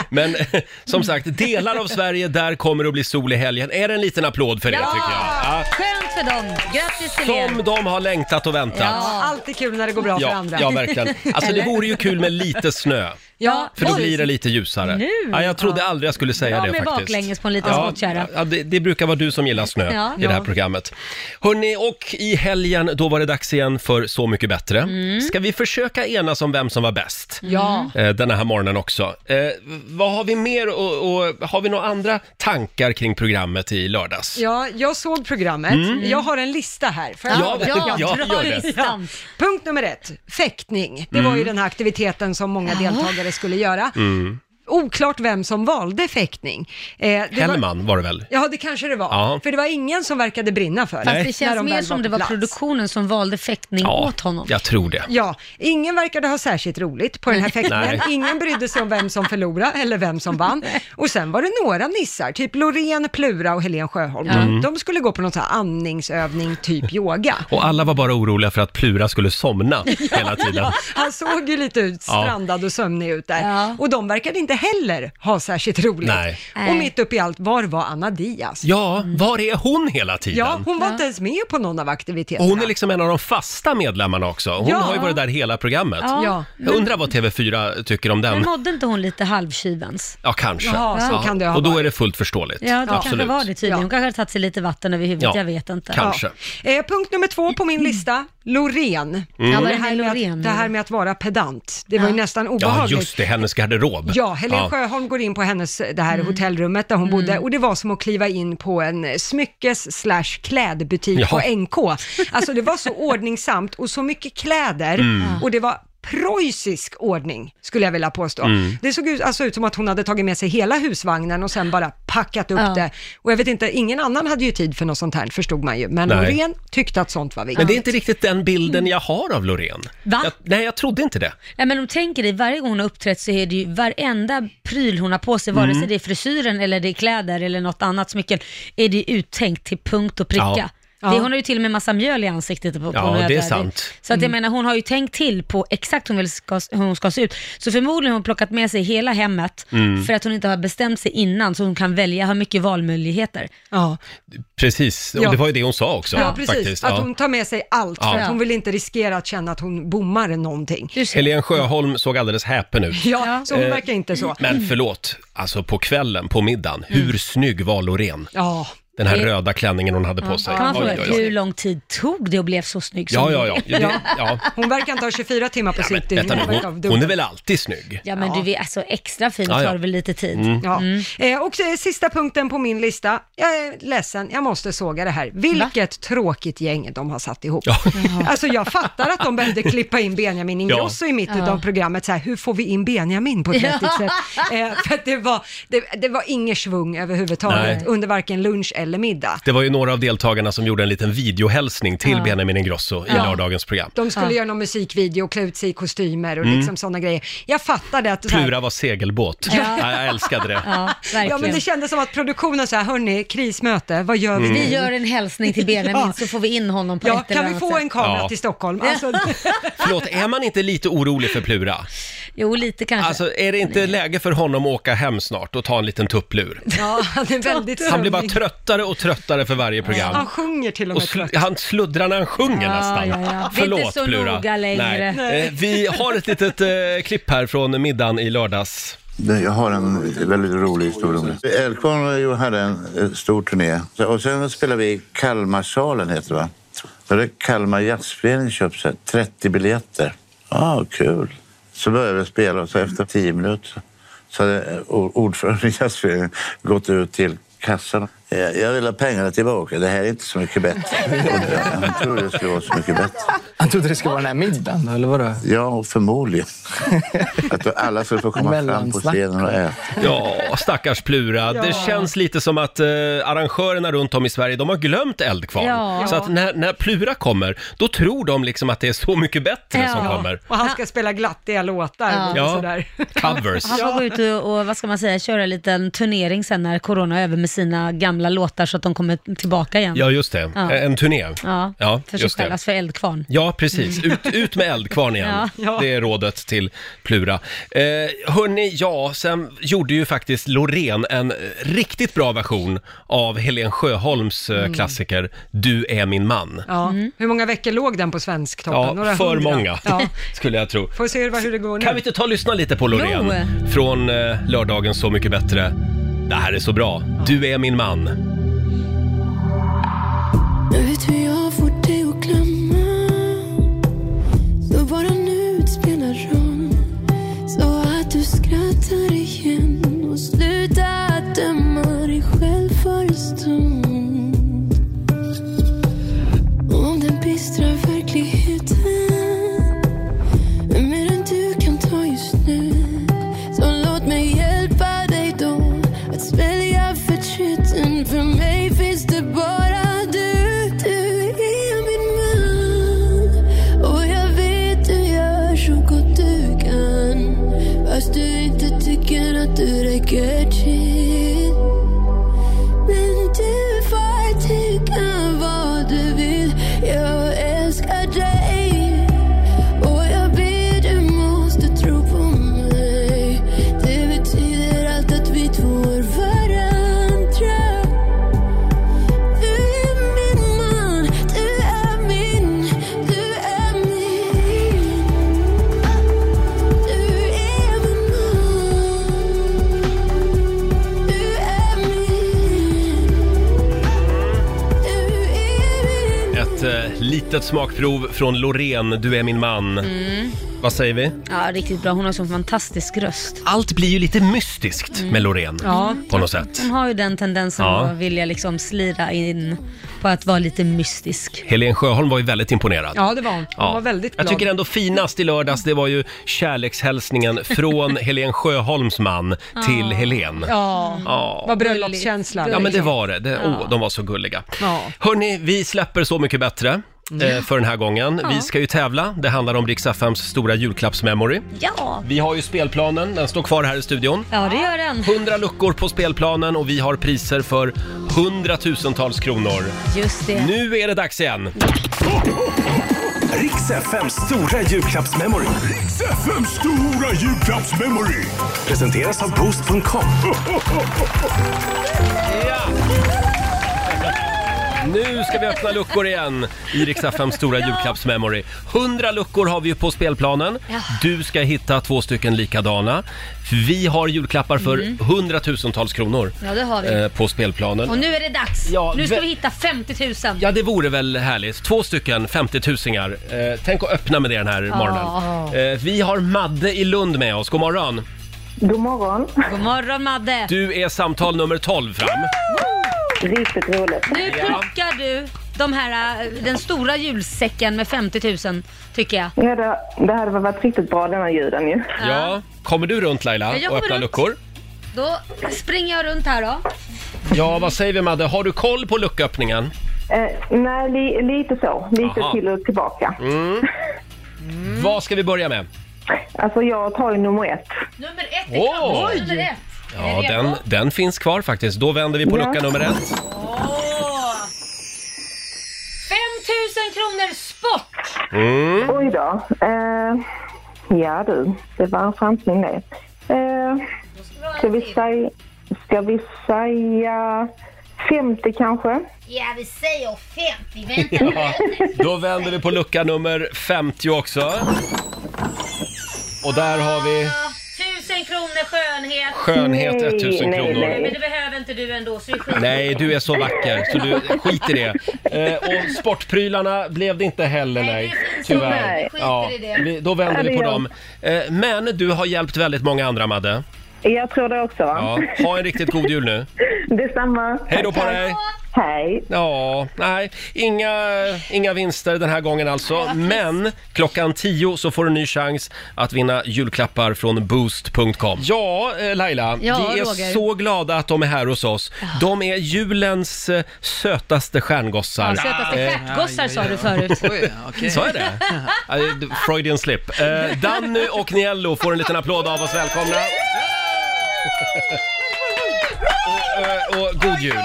S1: Men eh, som sagt, delar av Sverige, där kommer det att bli sol i helgen. Är det en liten applåd för det
S4: Ja!
S1: tycker jag? Ja.
S4: Skönt för dem. Grattis till
S1: Som
S4: er.
S1: de har längtat och väntat.
S4: Ja.
S2: Alltid kul när det går bra för
S1: Ja,
S2: andra.
S1: ja, verkligen. Alltså det vore ju kul med lite snö.
S2: Ja,
S1: För då
S4: Oj.
S1: blir det lite ljusare.
S4: Nu?
S1: Ja, jag trodde aldrig jag skulle säga
S4: Bra
S1: det
S4: med
S1: faktiskt.
S4: baklänges på en liten skottkärra.
S1: Ja, det, det brukar vara du som gillar snö
S4: Ja.
S1: i det här
S4: Ja.
S1: programmet. Hörrni, och i helgen då var det dags igen för Så mycket bättre. Ska vi försöka enas om vem som var bäst?
S2: Ja.
S1: eh, den här morgonen också. Eh, vad har vi mer och, och har vi några andra tankar kring programmet i lördags?
S2: Ja, jag såg programmet. Jag har en lista här. Får jag-
S1: Mm. Ja,
S4: Ja,
S1: ja,
S4: dra
S1: gör det.
S2: Ja.
S4: listan.
S1: Mm.
S2: Punkt nummer ett, fäktning. Det var ju den här aktiviteten som många deltagare skulle göra. Oklart vem som valde fäktning. Eh, det var-
S1: Hellman var det väl?
S2: Ja, det kanske det var.
S1: Ja.
S2: För det var ingen som verkade brinna för
S4: Fast
S1: Nej.
S4: det
S2: när
S4: känns
S2: de
S4: mer
S2: väl
S4: som
S2: på
S4: det var
S2: plats.
S4: produktionen som valde fäktning åt honom.
S1: jag tror det.
S2: Ja, ingen verkade ha särskilt roligt på den här
S1: Nej.
S2: fäktningen. ingen brydde sig om vem som förlorade eller vem som vann. Och sen var det några nissar, typ Loreen Plura och Helen Sjöholm.
S1: Mm.
S2: De skulle gå på någon sån här andningsövning, typ yoga.
S1: Och alla var bara oroliga för att Plura skulle somna hela tiden.
S2: Han såg ju lite ut
S1: Ja.
S2: strandad och sömnig ut där.
S4: Ja.
S2: Och de verkade inte heller ha särskilt roligt.
S1: Nej.
S4: Nej.
S2: Och mitt uppe i allt, var var Anna Diaz?
S1: Ja, var är hon hela
S2: Ja,
S1: tiden?
S2: hon var inte ens med på någon av aktiviteterna.
S1: Och hon är liksom en av de fasta medlemmarna också. Hon
S2: Ja.
S1: har ju varit där hela programmet.
S4: Ja.
S2: Ja.
S1: Jag undrar vad TV4 tycker om
S4: Men
S1: den.
S4: mådde inte hon lite halvkyvens?
S1: Ja, kanske.
S2: Ja, så kan det ha
S1: Och då är
S2: varit.
S1: det fullt förståeligt.
S4: Ja, det kanske
S1: Absolut.
S4: var det tydligen.
S2: Ja.
S4: Hon kanske hade tagit sig lite vatten över huvudet,
S1: Ja.
S4: jag vet inte.
S1: Kan-
S4: Ja.
S1: Kanske.
S2: Ja. Eh, punkt nummer två på min lista, Loreen.
S4: Ja, vad är
S2: Det,
S4: det
S2: här
S4: med
S2: med
S4: Loreen?
S2: att, det här med att vara pedant, det var ju nästan
S1: Ja,
S2: obehagligt.
S1: just det. Hennes garderob.
S2: Ja, Helen
S1: Ja.
S2: Sjöholm går in på hennes, eh, det här hotellrummet där hon bodde och det var som att kliva in på en eh, smyckes slash klädbutik
S1: Ja.
S2: på NK. Alltså det var så ordningsamt och så mycket kläder
S1: Mm.
S2: och det var preussisk ordning skulle jag vilja påstå.
S1: Mm.
S2: Det såg ut, alltså, ut som att hon hade tagit med sig hela husvagnen och sen bara packat upp
S4: Ja.
S2: det. Och jag vet inte, ingen annan hade ju tid för något sånt här förstod man ju. Men
S1: Nej.
S2: Loreen tyckte att sånt var viktigt.
S1: Men det är inte riktigt den bilden
S2: Mm.
S1: jag har av Loreen.
S4: Va?
S1: Jag, nej, jag trodde inte det.
S4: Nej, men om du tänker dig, varje gång hon har uppträtt så är det ju varenda pryl hon har på sig, vare sig
S1: Mm.
S4: det är frisyren eller det är kläder eller något annat smycken, är det uttänkt till punkt och pricka.
S1: Ja.
S4: Det, hon har ju till och med massa mjöl i ansiktet. På, på
S1: Ja,
S4: någon
S1: det är
S4: jävla-
S1: sant. Mm.
S4: Så att jag menar, hon har ju tänkt till på exakt hon vill ska, hur hon ska se ut. Så förmodligen har hon plockat med sig hela hemmet
S1: Mm.
S4: för att hon inte har bestämt sig innan så hon kan välja, har mycket valmöjligheter.
S2: ja.
S1: Precis, och
S2: Ja.
S1: det var ju det hon sa också.
S2: ja, precis.
S1: Faktiskt.
S2: Att
S1: Ja.
S2: hon tar med sig allt
S1: Ja.
S2: för att hon vill inte riskera att känna att hon bommar någonting.
S4: Du ser.
S1: Helen Sjöholm såg alldeles häpen ut.
S2: Ja,
S4: Ja.
S2: så hon
S1: Eh,
S2: verkar inte så.
S1: Men förlåt, alltså på kvällen, på middagen, hur snygg var Loreen?
S2: Ja,
S1: Den här
S4: Det-
S1: röda klänningen hon hade på sig.
S4: Kan man
S1: Oj,
S4: fråga,
S1: oj,
S4: hur
S1: oj.
S4: lång tid tog det och blev så snygg som
S1: Ja, ja,
S4: hon
S1: ja. ja, det, ja.
S2: hon verkar inte ha 24 timmar på
S1: Men,
S2: sitt dygn.
S1: vänta nu,
S2: Hon verkar ha
S1: hon,
S2: dubbelt.
S1: hon är väl alltid snygg?
S4: Ja men du vet, alltså extra fin
S1: Ja, Mm. ja.
S4: tar väl lite tid.
S2: Ja.
S4: Mm.
S2: Eh, och eh, sista punkten på min lista, jag är ledsen, jag måste såga det här. Vilket tråkigt gäng de har satt ihop.
S1: Ja.
S2: Alltså jag fattar att de behövde klippa in Benjamin Ingrosso i mitten
S4: Ja.
S2: av programmet, så här, hur får vi in Benjamin på ett vettigt sätt? Eh, för att det var, det, det var ingen svung överhuvudtaget
S1: Nej.
S2: under varken lunch eller middag.
S1: Det var ju några av deltagarna som gjorde en liten videohälsning till Benjamin Ingrosso i lördagens program.
S2: De skulle göra någon musikvideo och klä ut sig i kostymer och liksom sådana grejer. Jag fattade att... så här-
S1: Mm. Plura var segelbåt. Ja, jag älskade det.
S4: Ja, verkligen. Mm.
S2: Ja men det kändes som att produktionen så här, hörni, krismöte, vad gör vi
S1: Mm.
S2: nu?
S4: Vi gör en hälsning till Benjamin
S2: Ja.
S4: så får vi in honom på
S2: Ja,
S4: ett eller
S2: kan vi
S4: annat
S2: få
S4: sätt.
S2: en kamera
S1: Ja.
S2: till Stockholm? Alltså,
S1: Förlåt, är man inte lite orolig för Plura?
S4: Jo, lite kanske.
S1: Alltså, är det inte läge för honom att åka hem snart och ta en liten tupplur?
S2: ja, han är väldigt
S1: Han blir
S2: sömnig.
S1: bara tröttare och tröttare för varje
S2: Han
S1: program.
S2: sjunger till och
S1: Och
S2: med
S1: sl-
S2: trött.
S1: han sluddrar när han sjunger
S4: Ja,
S1: nästan.
S4: ja, ja. Det är
S1: Förlåt
S4: inte så
S1: Plura.
S4: noga längre.
S1: Nej. Eh, Vi har ett litet eh, klipp här från middagen i lördags.
S7: Nej, Jag har en väldigt rolig historia om det. Älvkvarn hade en eh, stor turné. Och sen spelade vi i Kalmarsalen, heter det va? Då hade Kalmar Jazzförening köpt så här 30 biljetter. ah, kul. Så började vi spela och så efter 10 minuter så hade eh, or- ordföranden i jazzföreningen gått ut till kassan. Eh, Jag vill ha pengarna tillbaka. Det här är inte så mycket bättre. Jag trodde det skulle vara så mycket bättre.
S8: Han trodde det skulle vara den här middagen då, eller vadå?
S7: Ja, och förmodligen. Att alla skulle få komma fram på
S8: Mellansnack.
S7: scenen och äta.
S1: Ja, stackars Plura. Det känns lite som att eh, arrangörerna runt om i Sverige, de har glömt Eldkvarn.
S4: Ja.
S1: Så att när, när Plura kommer, då tror de liksom att det är så mycket bättre
S4: Ja.
S1: som kommer.
S2: Och han ska spela glattiga låtar
S4: Ja.
S2: och
S1: Ja,
S2: sådär.
S1: covers.
S4: han får gå ut och, och, vad ska man säga, köra en liten turnering sen när corona är över med sina gamla låtar så att de kommer tillbaka igen.
S1: Ja, just det.
S4: Ja.
S1: En turné.
S4: Ja, för sig
S1: just det.
S4: själv, alltså för Eldkvarn.
S1: Ja, precis. Ut, ut med eldkvarn igen.
S2: Ja.
S1: Det är rådet till Plura. Eh, hörni, ja, sen gjorde ju faktiskt Loreen en eh, riktigt bra version av Helen Sjöholms
S4: Mm.
S1: eh, klassiker Du är min man.
S2: Ja. Hur många veckor låg den på Svensktoppen?
S1: Ja,
S2: Några
S1: för
S2: hundra.
S1: många,
S2: Ja.
S1: skulle jag tro.
S2: Får se vad- hur det går nu.
S1: Kan vi inte ta och lyssna lite på Loreen
S4: Jo.
S1: från eh, lördagen Så mycket bättre? Det här är så bra. Du är min man.
S9: Jag vet hur jag får dig att glömma Så bara nu det spelar roll Så att du skrattar igen och slutar döma dig själv för en stund Om den bistra verkligheten är mer än du kan ta just nu Så låt mig hjälpa mycket chill Men du får tycka vad du vill Jag älskar dig Och jag ber du måste tro på mig Det betyder allt att vi två är varandra du är min man, du är min, du är min Du är min man Du är min Du är min
S1: Ett eh, litet smakprov från Loreen, Du är min man.
S2: Mm.
S1: Vad säger vi?
S4: Ja, riktigt bra. Hon har en sån fantastisk röst.
S1: Allt blir ju lite mystiskt med Loreen
S2: Mm. Ja.
S1: på något sätt.
S4: Hon har ju den tendensen
S1: Ja.
S4: att vilja liksom slira in på att vara lite mystisk.
S1: Helen Sjöholm var ju väldigt imponerad.
S2: Ja, det var hon. Hon
S1: Ja.
S2: var väldigt glad.
S1: Jag tycker ändå finast i lördags, det var ju kärlekshälsningen från Helen Sjöholms man till Helen.
S2: Ja,
S1: Ja.
S2: var bröllopskänslan.
S1: Ja, men det var det. det oh, de var så gulliga.
S2: liksom. Ja.
S1: Hörni, vi släpper Så mycket bättre. eh, För den här gången. Vi ska ju tävla. Det handlar om Rix FMs stora julklappsmemory.
S4: Ja,
S1: Vi har ju spelplanen, den står kvar här i studion.
S4: ja det gör den.
S1: 100 luckor på spelplanen och vi har priser för hundratusentals kronor.
S4: Just det.
S1: Nu är det dags igen!
S3: Riks FMs stora julklappsmemory. Riks FMs stora julklappsmemory. Presenteras av Boost.com.
S1: Ja! Nu ska vi öppna luckor igen i Rix FMs stora julklappsmemory. 100 luckor har vi ju på spelplanen. Du ska hitta två stycken likadana. Vi har julklappar för hundratusentals kronor
S4: Mm. Ja, det har vi.
S1: eh, på spelplanen.
S4: Och nu är det dags.
S1: Ja,
S4: nu ska
S1: ve-
S4: vi hitta 50 000.
S1: Ja, det vore väl härligt. Två stycken 50-tusingar. Eh, tänk att öppna med det den här morgonen. Eh, vi har Madde i Lund med oss. God morgon.
S6: God morgon.
S4: God morgon Madde.
S1: Du är samtal nummer 12 fram.
S6: Riktigt roligt.
S4: Nu plockar du de här, eh, den stora julsäcken med 50 000 tycker jag.
S6: Ja, det, det hade väl varit riktigt bra denna julen ju.
S1: Ja. Kommer du runt Laila
S4: jag
S1: och
S4: kommer
S1: öppnar
S4: runt.
S1: luckor?
S4: Då springer jag runt här då.
S1: Ja, vad säger vi Madde? Har du koll på lucköppningen?
S6: Eh, nej, li, lite så. Lite
S1: Aha.
S6: till och tillbaka.
S1: Vad ska vi börja med?
S6: Alltså jag tar ju nummer ett.
S4: Nummer ett är
S1: Åh!
S4: klar. Nummer ett.
S1: Ja,
S4: Är ni
S1: den,
S4: redo?
S1: den finns kvar faktiskt. Då vänder vi på
S6: Ja.
S1: lucka nummer ett.
S4: Åh! 5 000 kronor sport!
S1: Mm.
S6: Oj då. Eh, ja du, det var en chansning det. Eh, ska vi säga... Ska vi säga 50 kanske?
S4: Ja, vi säger 50. Vänta.
S1: Då vänder vi på lucka nummer 50 också. Och där har vi
S4: 1000 kronor skönhet.
S1: skönhet
S6: Nej,
S1: 1000
S6: nej,
S1: kronor.
S6: nej.
S4: Men det behöver inte du ändå, så det skiter
S1: Nej, du är så vacker så du skit i det. Eh, och sportprylarna blev det inte heller,
S4: Nej,
S1: nej.
S4: det finns inte.
S1: Tyvärr.
S4: Nej. Skiter i det.
S1: vi- då vänder
S6: Ja,
S1: vi
S6: det
S1: på
S6: gör
S1: dem. Eh, men du har hjälpt väldigt många andra, Madde.
S6: Jag tror det också. Va?
S1: Ja, ha en riktigt god jul nu.
S6: Detsamma.
S1: Hej då på
S6: Tack.
S1: dig!
S6: Hej.
S1: Ja, nej, inga, inga vinster den här gången alltså. Men klockan 10 så får du en ny chans att vinna julklappar från boost.com. Ja, eh, Laila,
S4: Ja,
S1: vi är
S4: Roger.
S1: så glada att de är här hos oss. De är julens eh, sötaste stjärngossar.
S4: Ja, sötaste stjärtgossar sa du förut.
S8: Oj, okej.
S1: Så är det. Eh, Freudian slip. Eh, Danny och Niello får en liten applåd av oss. Välkomna! och, eh, och god jul!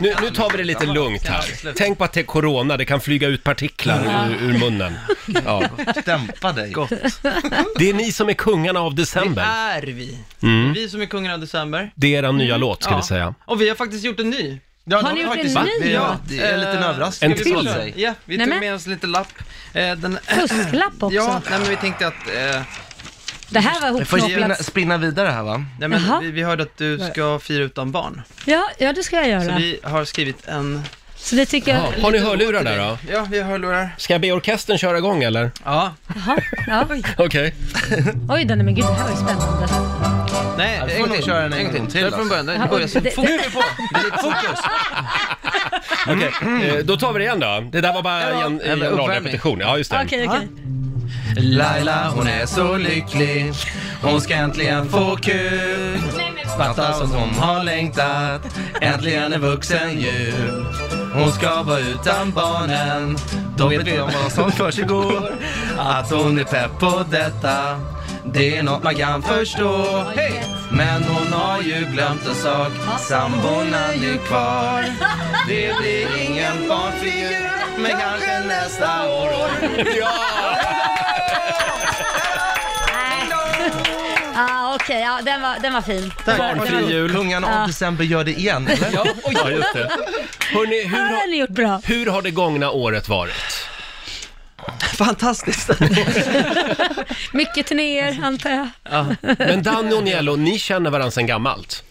S1: Nu, nu tar vi det lite lugnt här. Tänk på att det är corona, det kan flyga ut partiklar ur, ur munnen. Ja.
S10: Dämpa dig.
S8: Gott.
S1: Det är ni som är kungarna av
S8: Det
S1: december.
S8: är vi. Det är vi som är kungen av december.
S1: Det är er nya låt, ska vi säga.
S8: Och vi har faktiskt gjort en ny.
S10: Ja,
S4: Har
S10: de
S4: ni gjort
S10: faktiskt-
S4: en ny
S10: Ja,
S4: låt?
S10: det är en liten
S8: Eh,
S10: överraskning.
S1: En
S10: vi
S1: till?
S10: sa sig.
S8: Ja, vi
S4: Nej,
S8: tog
S4: men-
S8: med oss en liten lapp. Eh, den...
S4: Fusklapp också.
S8: Ja, nej, men vi tänkte att... Eh,
S4: Det här var
S10: Vi får spinna,
S4: ihopknopplat.
S10: spinna vidare här va?
S8: nej,
S4: Jaha.
S8: men vi, vi hörde att du ska fira utan barn.
S4: Ja, ja, det ska jag
S8: Så
S4: göra. Så vi,
S8: vi har skrivit en...
S4: tycker jag...
S1: Har ni hörlurar där då?
S8: Ja, vi har hörlurar.
S1: Ska jag be orkestern köra igång eller?
S8: Ja.
S4: Jaha, ja. Oj,
S1: Okej.
S4: oj den är men gud, det här var ju spännande.
S8: Nej,
S10: får nog köra den en gång till,
S8: Kör från
S10: alltså.
S8: början. Det
S4: Ja,
S8: börjar
S4: oj,
S8: så
S4: det-
S8: fort.
S4: det-
S8: Fokus!
S1: Okej, eh, då tar vi det igen då. Det där var bara gen-
S8: Ja, men
S1: generalrepetition. Ja, just det.
S4: Okej, okej.
S10: Laila hon är så lycklig Hon ska äntligen få kul Fatta som hon har längtat Äntligen är vuxen jul Hon ska vara utan barnen Då vet vi om vad som försiggår Att hon är pepp på detta Det är något man kan förstå. Hej! Men hon har ju glömt en sak. Sambon är ju kvar. Det blir ingen barnfri jul, men kanske nästa år.
S4: Ah, Okej, ja, den, var, den var fin.
S10: Tack.
S4: Den var- den var-
S10: Kungarna av
S4: Ja.
S10: december gör det igen, eller?
S1: Ja, oj, ja just det. Hörrni, hur, har,
S4: ni gjort bra.
S1: hur har det gångna året varit?
S10: Fantastiskt.
S4: Mycket turnéer, antar jag.
S1: Men Danny och Nielo, ni känner varandra sedan gammalt.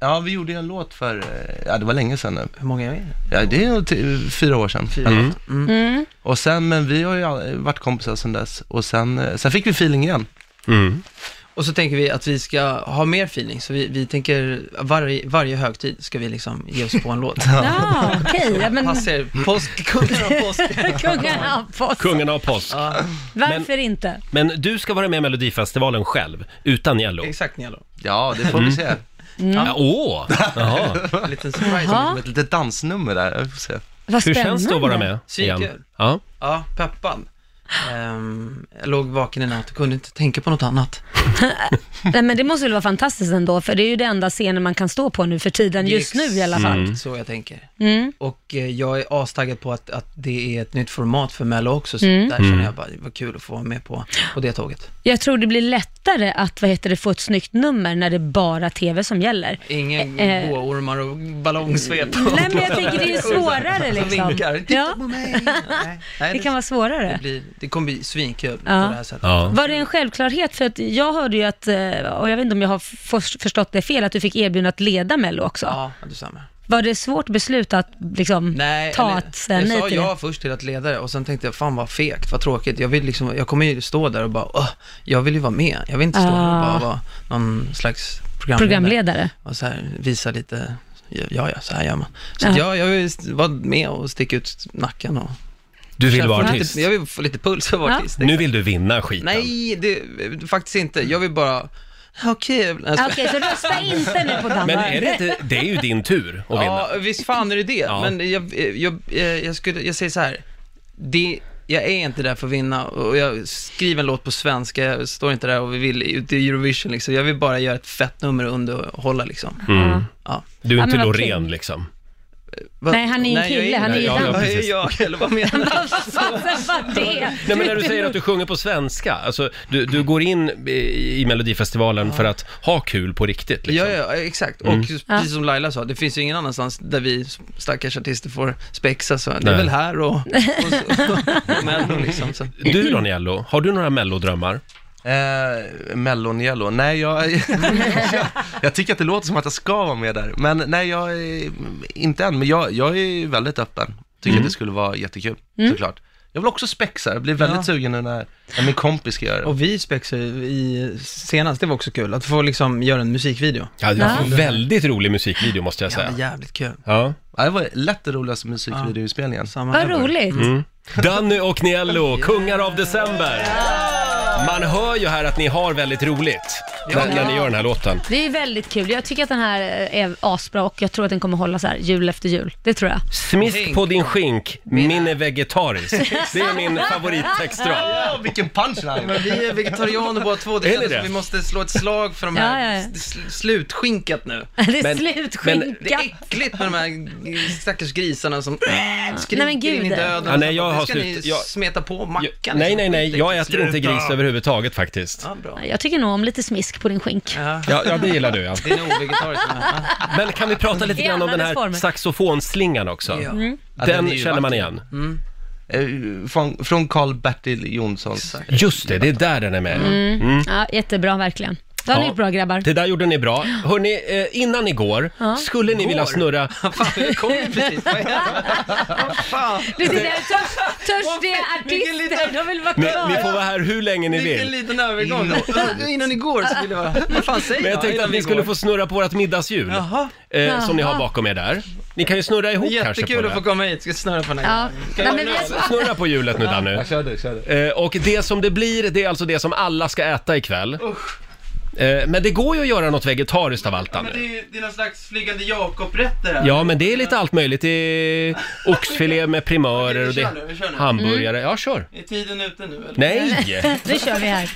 S10: Ja. vi gjorde en låt för, eh, ja det var länge sedan nu. Hur många är det? Ja, det är nog ty- fyra år sedan. eller något.
S4: Mm.
S10: Och sen, men vi har ju all- varit kompisar sedan dess. Och sen, eh, sen fick vi feeling igen.
S8: Mm. Och så tänker vi att vi ska ha mer feeling, så vi, vi tänker varje, varje högtid ska vi liksom ge oss på en låt.
S4: Ja, okej. ja, men...
S8: Passar er påsk, kungen av påsk.
S4: Kungarna av påsk.
S1: Kungarna av påsk.
S4: Varför inte?
S1: Men du ska vara med i Melodifestivalen själv, utan Nielo.
S8: Exakt Nialo.
S10: Ja, det får vi se.
S1: Ja, Åh! Jaha.
S8: En liten surprise.
S4: Ja.
S10: Med ett litet dansnummer där, jag får se.
S4: Vad
S1: Hur
S4: spännande.
S1: känns det att vara med igen?
S8: Svinkul.
S1: Ja.
S8: Ja, peppad. Ehm, jag låg vaken i natt och kunde inte tänka på något annat.
S4: Nej, men det måste väl vara fantastiskt ändå, för det är ju den enda scenen man kan stå på nu för tiden,
S8: Det är
S4: just nu i alla fall.
S8: Så jag tänker.
S4: Mm.
S8: Och eh, jag är astaggad på att, att det är ett nytt format för Mello också, så
S4: Mm.
S8: där känner jag bara, vad kul att få vara med på, på det tåget.
S4: Jag tror det blir lättare att vad heter det, få ett snyggt nummer när det är bara tv som gäller.
S8: Ingen
S4: Eh, eh.
S8: gåormar och ballongsvep.
S4: Nej, men jag tänker det är svårare
S8: Som
S4: liksom.
S8: vinkar. Titta
S4: Ja,
S8: på mig! Nej, nej,
S4: det kan vara
S8: det,
S4: svårare.
S8: blir, det kommer bli svinkul på
S4: Ja.
S8: det här sättet.
S1: ja.
S4: Var det en självklarhet? För att jag hörde ju att, eh, och jag vet inte om jag har för- förstått det fel, att du fick erbjudande att leda Mello också.
S8: Ja, du samma.
S4: Var det svårt beslut att liksom
S8: Nej,
S4: ta
S8: eller-
S4: att säga
S8: jag
S4: nej
S8: sa
S4: till
S8: ja
S4: det?
S8: först till att leda det och sen tänkte jag, fan vad fegt, vad tråkigt. Jag, vill liksom, jag kommer ju stå där och bara, "Åh, jag vill ju vara med. Jag vill inte stå där och bara
S4: Ah.
S8: vara någon slags programledare.
S4: Programledare.
S8: Och så här, visa lite, ja, ja, så här gör man. Så att
S4: Ja.
S8: jag, jag vill st- vara med och sticka ut nacken och...
S1: Du vill vara
S8: Jag vill
S1: artist.
S8: Lite, jag vill få lite puls av att vara
S4: Ja.
S8: artist.
S1: Nu vill du vinna skiten.
S8: Nej, det, faktiskt inte. Jag vill bara, ha kul. Alltså,
S4: Okej, så rösta inte nu på Danmark.
S1: Men är det inte, det är ju din tur att vinna.
S8: Ja, visst fan är det det.
S1: Ja.
S8: Men jag, jag, jag, jag, skulle, jag säger så här. Det, jag är inte där för att vinna och jag skriver en låt på svenska, jag står inte där och vill ut i Eurovision liksom. Jag vill bara göra ett fett nummer och underhålla liksom.
S1: Mm.
S8: Ja.
S1: Du är
S4: Ja,
S1: inte
S4: men vad
S1: Loreen liksom.
S8: Va?
S4: Nej, han är ju en
S8: jag
S4: kille, han är
S1: ju
S8: Ja, ja,
S1: dans.
S8: precis. Vad är jag, eller vad menar du?
S4: Alltså, Vad det?
S1: Nej men när du säger att du sjunger på svenska, alltså du, du går in i- i Melodifestivalen för att ha kul på riktigt liksom.
S8: Ja, ja, exakt. Och just precis som Laila sa, det finns ju ingen annanstans där vi stackars artister får spexa, så det
S1: Nej.
S8: är väl här och, och, så- och, Mello, liksom. Så.
S1: Du då Nielo, har du några mellodrömmar?
S10: Eh, Mellon-Yellow. Nej, jag, jag, jag tycker att det låter som att jag ska vara med där. Men nej, jag är inte än. Men jag, jag är väldigt öppen. Tycker att det skulle vara jättekul, såklart. Jag vill också spexa. Jag blir väldigt
S8: Ja.
S10: sugen nu när, när min kompis ska göra det.
S8: Och vi spexar i senast, det var också kul, att få liksom göra en musikvideo.
S1: Ja, det var en
S8: Ja.
S1: väldigt rolig musikvideo måste jag
S8: Ja,
S1: säga.
S8: jävligt kul.
S1: Ja.
S10: Ja, det var lätt den roligaste musikvideoinspelningen.
S8: Samma
S4: Vad
S8: här bara.
S4: roligt.
S1: Mm. Danny och Niello, kungar av december. Man hör ju här att ni har väldigt roligt när, när ni gör den här låten.
S4: Det är väldigt kul. Jag tycker att den här är asbra och jag tror att den kommer hålla så här jul efter jul. Det tror jag.
S1: Smisk på din skink, min är vegetarisk. Det är min favorittextrad.
S10: Ja, vilken punchline!
S8: Men vi är vegetarianer båda två,
S1: Är
S8: det
S1: ni
S8: känns
S1: det?
S8: som vi måste slå ett slag för de här
S4: Ja, ja, ja.
S8: s- s- slutskinkat nu.
S4: Det är
S1: Men-
S8: Det
S4: slutskinka.
S8: är äckligt med de här stackars grisarna som skriker
S4: Nej, men gud.
S8: in i döden.
S1: Ja, nej, jag har
S8: det ska
S1: slut-
S8: ni
S1: jag-
S8: smeta på mackan.
S1: Nej,
S8: liksom.
S1: nej, nej, jag äter inte
S8: Sluta.
S1: gris överhuvudtaget faktiskt.
S8: Ja, bra.
S4: Jag tycker nog om lite smisk på din skink.
S8: Ja,
S1: Ja, ja det gillar du ja.
S8: det är nog vegetariskt. men- ja.
S1: Men kan vi prata lite
S4: I
S1: grann om
S4: alla
S1: den
S4: dess
S1: här
S4: former.
S1: saxofonslingan också?
S8: Ja.
S10: Ja, den är
S1: Den
S10: ju
S1: känner man
S10: vacker.
S1: igen.
S10: Eh, Från, från Carl-Bertil Jonssons.
S1: Just det, det är där den är med.
S4: Ja, jättebra verkligen. Det har ni
S1: Ja.
S4: gjort bra grabbar.
S1: Det där gjorde ni bra. Hörni, eh, innan ni går, skulle ni vilja snurra...
S8: Fan, jag kom ju precis. Vad är det? Fan.
S4: Du sitter här, törs, törstiga
S8: Vilken liten-
S4: artister, de vill vara
S1: Ni,
S4: kvar.
S1: ni får vara här hur länge ni vill.
S8: Vilken liten övergång. Innan igår så ville jag vara... Vad fan säger
S1: Men jag tänkte att
S8: Innan
S1: ni skulle
S8: igår.
S1: få snurra på vårt middagshjul,
S8: Jaha.
S1: eh, som ni har
S4: Jaha.
S1: bakom er där. Ni kan ju snurra ihop kanske på
S8: Jättekul
S1: det.
S8: att få komma hit, ska snurra på den här
S4: Ja. Nej, men vi har...
S1: Snurra på hjulet nu Danny.
S10: Kör du, kör du.
S1: Eh, och det som det blir, det är alltså det som alla ska äta ikväll. Eh, men det går ju att göra något vegetariskt av allt Danny.
S8: är, det är någon slags flygande Jakob-rätt det där.
S1: Ja, men det är lite allt möjligt. Det är oxfilé med primörer och
S8: Okej, vi
S1: det
S8: kör nu, Mm. vi kör nu.
S1: hamburgare. Ja, kör.
S8: Är tiden ute nu eller?
S1: Nej!
S4: Nu kör vi här.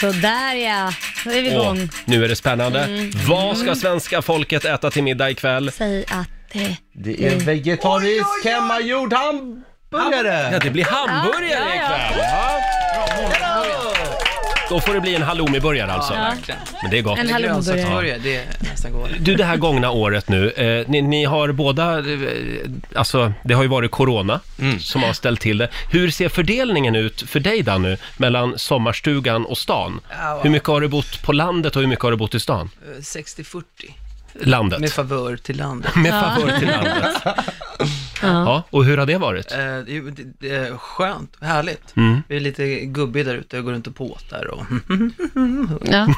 S4: Så där ja, då är vi
S1: Och
S4: igång.
S1: nu är det spännande.
S4: Mm.
S1: Vad ska svenska folket äta till middag ikväll?
S4: Säg att eh,
S1: Det
S4: är
S10: Vegetarisk hemmagjord hamburgare!
S1: Ja, det blir hamburgare
S10: Ja, ja, ja.
S1: ikväll! Ja. Då får det bli en halloumiburgare alltså.
S8: Ja, verkligen.
S1: Men det är gott.
S8: En halloumiburgare. Det är nästan gott.
S1: Du, det här gångna året nu, eh, ni, ni har båda, eh, alltså det har ju varit corona
S8: Mm.
S1: som har ställt till det. Hur ser fördelningen ut för dig Danny, mellan sommarstugan och stan?
S8: Ja, va.
S1: Hur mycket har du bott på landet och hur mycket har du bott i stan?
S8: Eh, 60-40.
S1: Landet.
S8: Med favör till landet.
S1: Med favör till landet. Ja, och hur har det varit?
S8: Eh, det är ju- det- det är skönt, härligt.
S1: Mm.
S8: Vi är lite gubbiga där ute och går runt och påtar och...
S1: Men,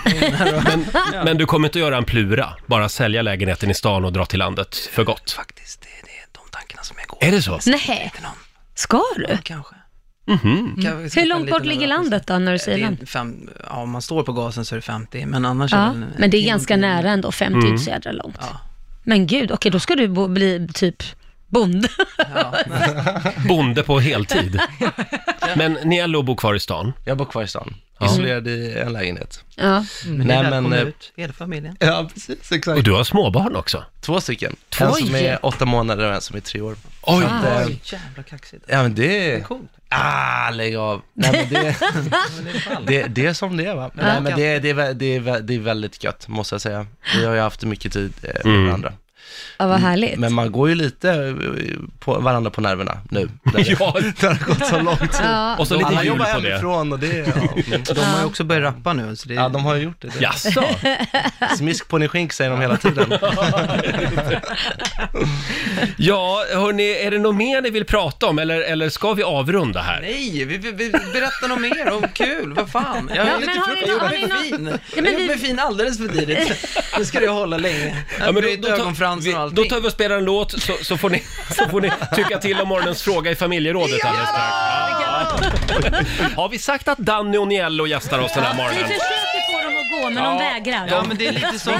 S1: men du kommer inte göra en plura, bara sälja lägenheten i stan och dra till landet för gott? Faktiskt, det är de tankarna som är går. Är det så?
S4: Nej. Ska du?
S8: Kanske.
S1: Mhm.
S8: Kan vi skaffa
S4: Hur
S8: en
S4: långt
S8: liten
S4: bort ligger
S8: överraskning?
S4: landet då när du
S8: Det
S4: säger land?
S8: är fem, ja, om man står på gasen så är det 50, men annars är
S4: Ja,
S8: det... en-
S4: men det är ganska nära ändå, 50 är inte så jädra långt. Men gud, okej då ska du bo, bli typ bonde.
S1: Bonde på heltid. Men ni är bor kvar i stan?
S10: Jag bor kvar i stan.
S1: Ja.
S10: Isolerad i en lägenhet.
S4: Ja.
S8: Mm. Men ni är
S10: Nej, men,
S8: välkomna
S10: eh,
S8: ut, hela familjen.
S10: Ja, precis. Exakt.
S1: Och du har småbarn också?
S10: Två stycken.
S1: Två?
S10: En som är åtta månader och en som är tre år.
S1: Oj.
S10: Så att, eh,
S8: Oj, jävla kaxigt.
S10: Ja, men det...
S8: Det är coolt.
S10: Ah, lägg av. Nej, men det, det, det är som det är, va? Nej, men det, det, är, vä- det, är, vä- det är väldigt gött, måste jag säga. Vi har ju haft mycket tid eh, med
S1: Mm.
S10: varandra.
S4: Ja, vad härligt.
S10: Men man går ju lite eh, på varandra på nerverna nu. När
S1: Ja.
S10: det har gått så lång tid.
S4: Ja.
S1: Och så lite
S10: Alla
S1: jul
S10: jobbar
S1: på det.
S10: hemifrån och det... Ja, mm.
S8: De har ju också börjat rappa nu, så det är...
S10: ja de har ju gjort det. det.
S1: Jaså?
S10: Smisk på din skink säger de hela tiden.
S1: Ja, hörni, är det något mer ni vill prata om eller, eller ska vi avrunda här?
S8: Nej, vi, vi, vi berättar något mer om kul, vad fan. Jag
S4: Ja,
S8: är
S4: men
S8: lite
S4: har ni
S8: frukt, jag
S4: nå-
S8: gjorde
S4: har
S8: mig
S4: ni nå-
S8: fin.
S4: men
S8: jag
S4: vi-
S8: gjorde mig fin alldeles för tidigt. Nu ska det hålla länge.
S1: men
S8: Jag bröt ögonfransar
S1: vi,
S8: och
S1: då
S8: allting.
S1: tar vi och spelar en låt så, så, får, ni, så får ni tycka till om morgonens fråga i familjerådet alldeles strax. Ja. Har vi sagt att Danny och Niello gästar oss den här
S4: Vi
S1: morgonen?
S4: försöker få dem att gå, men de vägrar.
S8: Ja, men det är lite som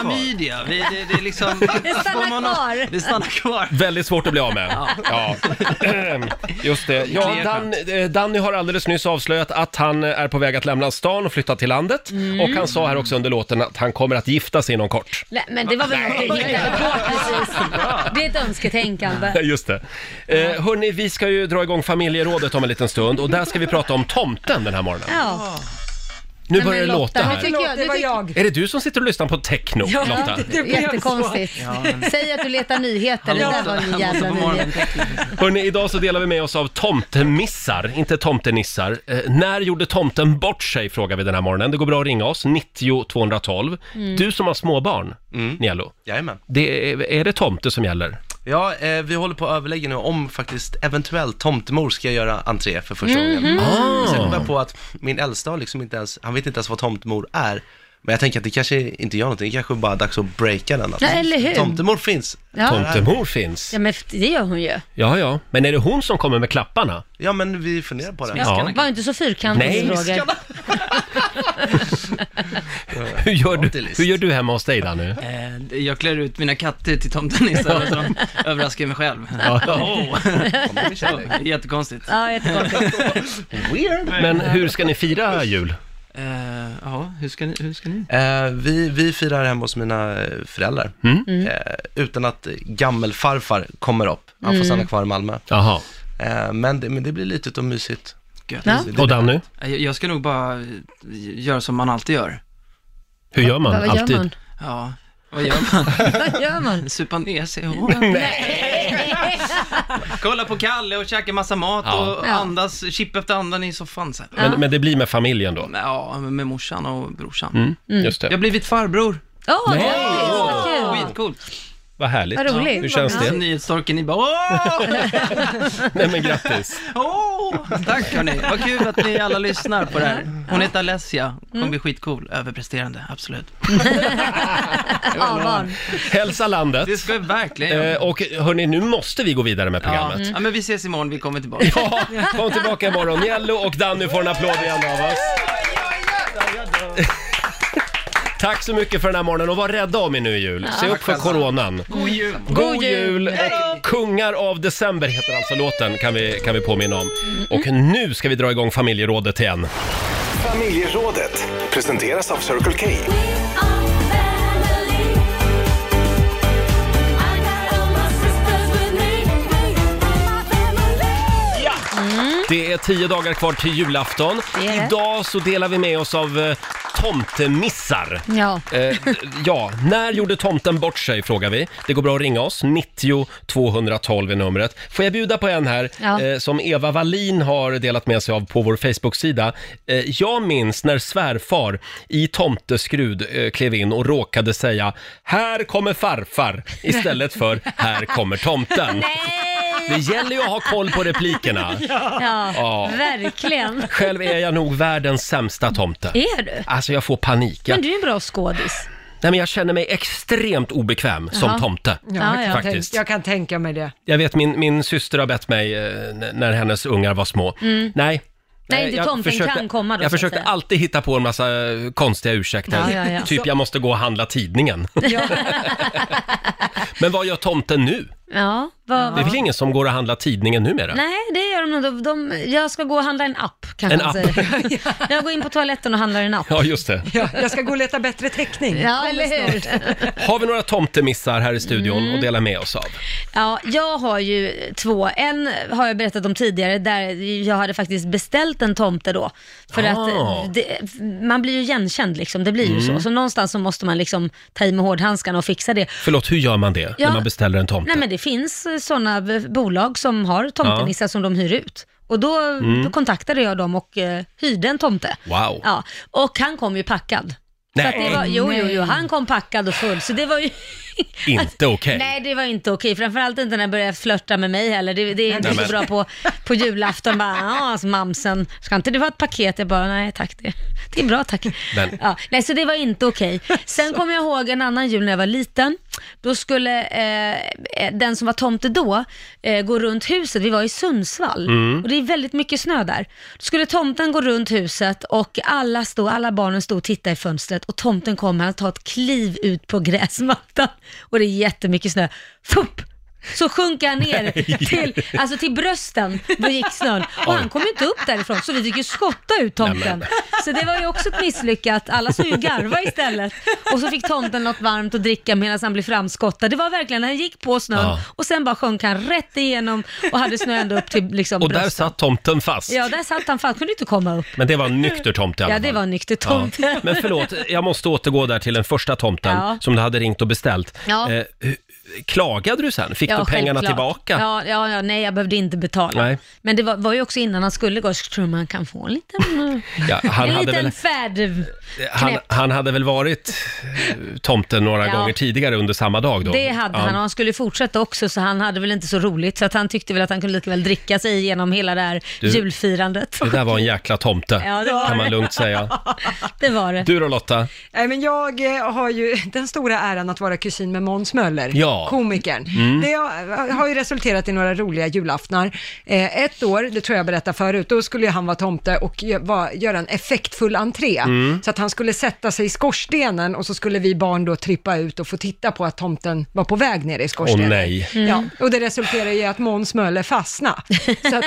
S8: klamydia. Vi, det, det är liksom...
S4: Det stannar
S8: får man ha-
S4: kvar.
S8: Det stannar kvar.
S1: Väldigt svårt att bli av med. Ja. Just det. Ja, Dan, eh, Danny har alldeles nyss avslöjat att han är på väg att lämna stan och flytta till landet. Och han sa här också under låten att han kommer att gifta sig inom kort.
S4: Nej, men det var väl något du hittade på precis. Det är ett önsketänkande.
S1: Just det. Eh, hörni, vi ska ju dra igång familjerådet om en liten stund och där ska vi prata om tomten den här morgonen.
S4: Ja.
S1: Nu
S4: Nej,
S1: börjar det
S4: men
S1: låta
S4: Lotta, nu
S1: här.
S4: tycker jag,
S2: Förlåt,
S4: nu
S2: det var
S4: tycker
S2: jag.
S1: Är det du som sitter och lyssnar på techno,
S2: Ja,
S1: Lotta?
S2: det- det blev så.
S4: Jättekonstigt. Säg att du letar nyheter, det där var en jävla nyhet.
S1: Hörni, idag så delar vi med oss av tomtemissar, inte tomtenissar. Eh, när gjorde tomten bort sig, frågar vi den här morgonen. Det går bra att ringa oss, 90 212.
S4: Mm.
S1: Du som har småbarn, mm. Nielo,
S10: Jajamän.
S1: det är, är det tomte som gäller?
S10: Ja, eh, vi håller på att överlägga nu om faktiskt eventuellt tomtemor ska göra entré för första gången.
S4: Mhm.
S1: Ah.
S10: Sen kom jag på att min äldsta har liksom inte ens, han vet inte ens vad tomtemor är. Men jag tänker att det kanske inte gör någonting, det kanske bara är dags att breaka den. Att
S4: Ja, eller hur?
S10: Tomtemor finns.
S4: Ja.
S1: Tomtemor finns.
S4: ja, men det gör hon ju.
S1: Ja, ja. Men är det hon som kommer med klapparna?
S10: Ja, men vi funderar på det.
S1: Ja.
S4: Var inte så
S1: Nej.
S4: fyrkantig, Roger.
S1: Hur gör du,
S10: Tomtelist.
S1: hur gör du hemma hos dig nu?
S8: Eh, Jag klär ut mina katter till tomtenissar och så överraskar jag mig själv. Oh. Jättekonstigt.
S4: Ja, jättekonstigt.
S10: Weird.
S1: Men hur ska ni fira jul?
S8: Eh, Ja, hur ska ni? Hur ska ni?
S10: Eh, vi, vi firar hemma hos mina eh, föräldrar. Eh, utan att gammelfarfar kommer upp. Han får stanna kvar i Malmö.
S1: Jaha.
S10: Eh, men, det, men det blir litet och mysigt.
S8: Gött.
S4: Ja.
S1: Och Danny,
S8: Jag jag ska nog bara eh, göra som man alltid gör.
S1: hur gör man?
S4: Vad gör
S1: Alltid?
S4: man?
S8: Ja, vad gör man?
S4: Vad gör man?
S8: Supa ner sig i håret. Kolla på Kalle och käka massa mat
S1: Ja.
S8: och
S4: Ja.
S8: andas chip efter andan i soffan så här.
S1: Men, men det blir med familjen då? Mm.
S8: Men, Ja, med morsan och brorsan.
S4: Mm.
S1: Just
S8: Jag har
S1: det.
S8: blivit farbror.
S4: Åh,
S1: Nej.
S4: grattis, vad kul!
S8: Skitcoolt.
S1: Vad härligt.
S4: Vad roligt.
S1: Hur känns
S8: Så
S1: det?
S8: nyhetstorken, ni bara åh!
S1: Nej men grattis.
S8: åh! Tack hörni, vad kul att ni alla lyssnar på det här. Hon heter Alessia, kommer bli skitcool, överpresterande, absolut.
S4: Avan.
S1: Hälsa landet.
S8: Det ska jag verkligen göra.
S1: Eh, och hörni, nu måste vi gå vidare med
S8: Ja.
S1: programmet.
S8: ja, men vi ses imorgon, vi kommer tillbaka.
S1: Ja, kom tillbaka imorgon. Jello och Danny får en applåd igen av oss. Tack så mycket för den här morgonen och var rädda om er nu i jul. Se upp för coronan.
S8: God jul!
S1: God jul! Och Kungar av december heter alltså låten, kan vi, kan vi påminna om. Och nu ska vi dra igång familjerådet igen.
S3: Familjerådet presenteras av Circle K.
S1: Det är tio dagar kvar till julafton.
S4: Det är det.
S1: Idag så delar vi med oss av eh, tomtemissar.
S4: Ja.
S1: Eh, d- ja, när gjorde tomten bort sig frågar vi. Det går bra att ringa oss, 90 212 är numret. Får jag bjuda på en här
S4: Ja.
S1: eh, som Eva Wallin har delat med sig av på vår Facebook-sida. Eh, jag minns när svärfar i tomteskrud eh, klev in och råkade säga “Här kommer farfar” istället för “Här kommer tomten”. Det gäller ju att ha koll på replikerna.
S4: Ja,
S1: Ja.
S4: verkligen.
S1: Själv är jag nog världens sämsta tomte.
S4: Är du?
S1: Alltså jag får panik. Jag,
S4: Men du är en bra skådis.
S1: nej, men jag känner mig extremt obekväm
S4: Jaha.
S1: som tomte.
S2: Ja, jag, kan
S1: faktiskt.
S2: tänka, jag kan tänka mig det.
S1: Jag vet min, min syster har bett mig eh, n- när hennes ungar var små.
S4: Mm.
S1: Nej.
S4: Nej,
S1: eh,
S4: inte
S1: jag
S4: tomten kan komma då,
S1: Jag
S4: så att
S1: försökte
S4: säga.
S1: alltid hitta på en massa eh, konstiga ursäkter.
S4: Ja, ja, ja.
S1: Typ
S4: Så-
S1: jag måste gå och handla tidningen. Men vad gör tomten nu?
S4: Ja, vad...
S1: Det är väl ingen som går och handlar tidningen numera?
S4: Nej, det gör de nog. De, de, jag ska gå och handla en app, kanske
S1: En
S4: man
S1: app.
S4: säger. Jag går in på toaletten och handlar en app.
S1: Ja, just det.
S2: Ja, jag ska gå och leta bättre täckning.
S4: Ja, eller hur?
S1: Har vi några tomtemissar här i studion
S4: Mm.
S1: att dela med oss av?
S4: Ja, jag har ju två. En har jag berättat om tidigare där jag hade faktiskt beställt en tomte då. För
S1: Ah.
S4: att det, man blir ju igenkänd liksom, det blir ju
S1: Mm.
S4: så. Så någonstans så måste man liksom ta i med hårdhandskarna och fixa det.
S1: Förlåt, hur gör man det
S4: Ja.
S1: när man beställer en tomte?
S4: Nej men det finns sådana bolag som har tomtenissar som de hyr ut. Och då,
S1: Mm.
S4: då kontaktade jag dem och eh, hyrde en tomte.
S1: Wow.
S4: Ja, och han kom ju packad. Så att
S1: Nej.
S4: det var, jo, jo, jo,
S1: Nej.
S4: han kom packad och full, så det var ju...
S1: Inte okej.
S4: Nej, det var inte okej. Framförallt inte när han började flörta med mig heller. Det, det är inte
S1: Nej,
S4: så
S1: men-
S4: bra på, på julafton. Bara, ja, alltså, mamsen, ska inte du ha ett paket? Jag bara, nej tack, det, det är bra tack.
S1: Men-
S4: Ja, nej, så det var inte okej. Sen kommer jag ihåg en annan jul när jag var liten. Då skulle eh, den som var tomte då eh, gå runt huset. Vi var i Sundsvall
S11: Mm.
S4: och det är väldigt mycket snö där. Då skulle tomten gå runt huset och alla, stod, alla barnen stod och tittade i fönstret och tomten kommer, han tar ett kliv ut på gräsmattan och det är jättemycket snö. Fupp! Så sjunker han ner
S11: Nej.
S4: till, alltså till brösten, då gick snön. Och
S11: Oj.
S4: han kom ju inte upp därifrån, så vi fick ju skotta ut
S11: Nej,
S4: tomten.
S11: men.
S4: Så det var ju också ett misslyckat. Alla såg ju garva istället. Och så fick tomten något varmt att dricka medan han blev framskottad. Det var verkligen, han gick på snön
S1: Ja.
S4: och sen bara sjönk han rätt igenom och hade snö ända upp till liksom
S1: Och där
S4: brösten.
S1: satt tomten fast.
S4: Ja, där satt han fast. Kunde inte komma upp.
S1: Men det var en nykter tomte i alla
S4: Ja,
S1: fall.
S4: det var en nykter tomte.
S1: Ja. Men förlåt, jag måste återgå där till den första tomten
S4: Ja.
S1: som du hade ringt och beställt.
S4: Ja.
S1: Eh, hu- klagade du sen? Fick
S4: Ja,
S1: du pengarna
S4: självklart.
S1: tillbaka?
S4: Ja, ja, ja, nej, jag behövde inte betala.
S1: Nej.
S4: Men det var, var ju också innan han skulle gå. Jag tror man kan få en liten,
S1: Ja, han
S4: en
S1: hade
S4: liten
S1: väl-
S4: färd...
S1: Han,
S4: knäpp.
S1: han hade väl varit eh, tomten några
S4: Ja.
S1: gånger tidigare under samma dag då?
S4: Det hade han och han skulle fortsätta också så han hade väl inte så roligt så att han tyckte väl att han kunde lika väl dricka sig igenom hela det här
S1: Du-
S4: julfirandet.
S1: Det där var en jäkla tomte,
S4: Ja, det var
S1: kan
S4: det.
S1: man lugnt säga.
S4: Det var det.
S1: Du då Lotta?
S2: Nej, men jag eh, har ju den stora äran att vara kusin med Måns Möller,
S1: Ja.
S2: komikern.
S1: Mm.
S2: Det har- har ju resulterat i några roliga julaftnar. Eh, ett år, det tror jag berättade förut, då skulle ju han vara tomte och gö- va- göra en effektfull entré.
S11: Mm.
S2: Så att han skulle sätta sig i skorstenen och så skulle vi barn då trippa ut och få titta på att tomten var på väg ner i skorstenen.
S1: Åh, nej. Mm.
S2: Ja, och det resulterade i att Måns Möller fastnade. Så att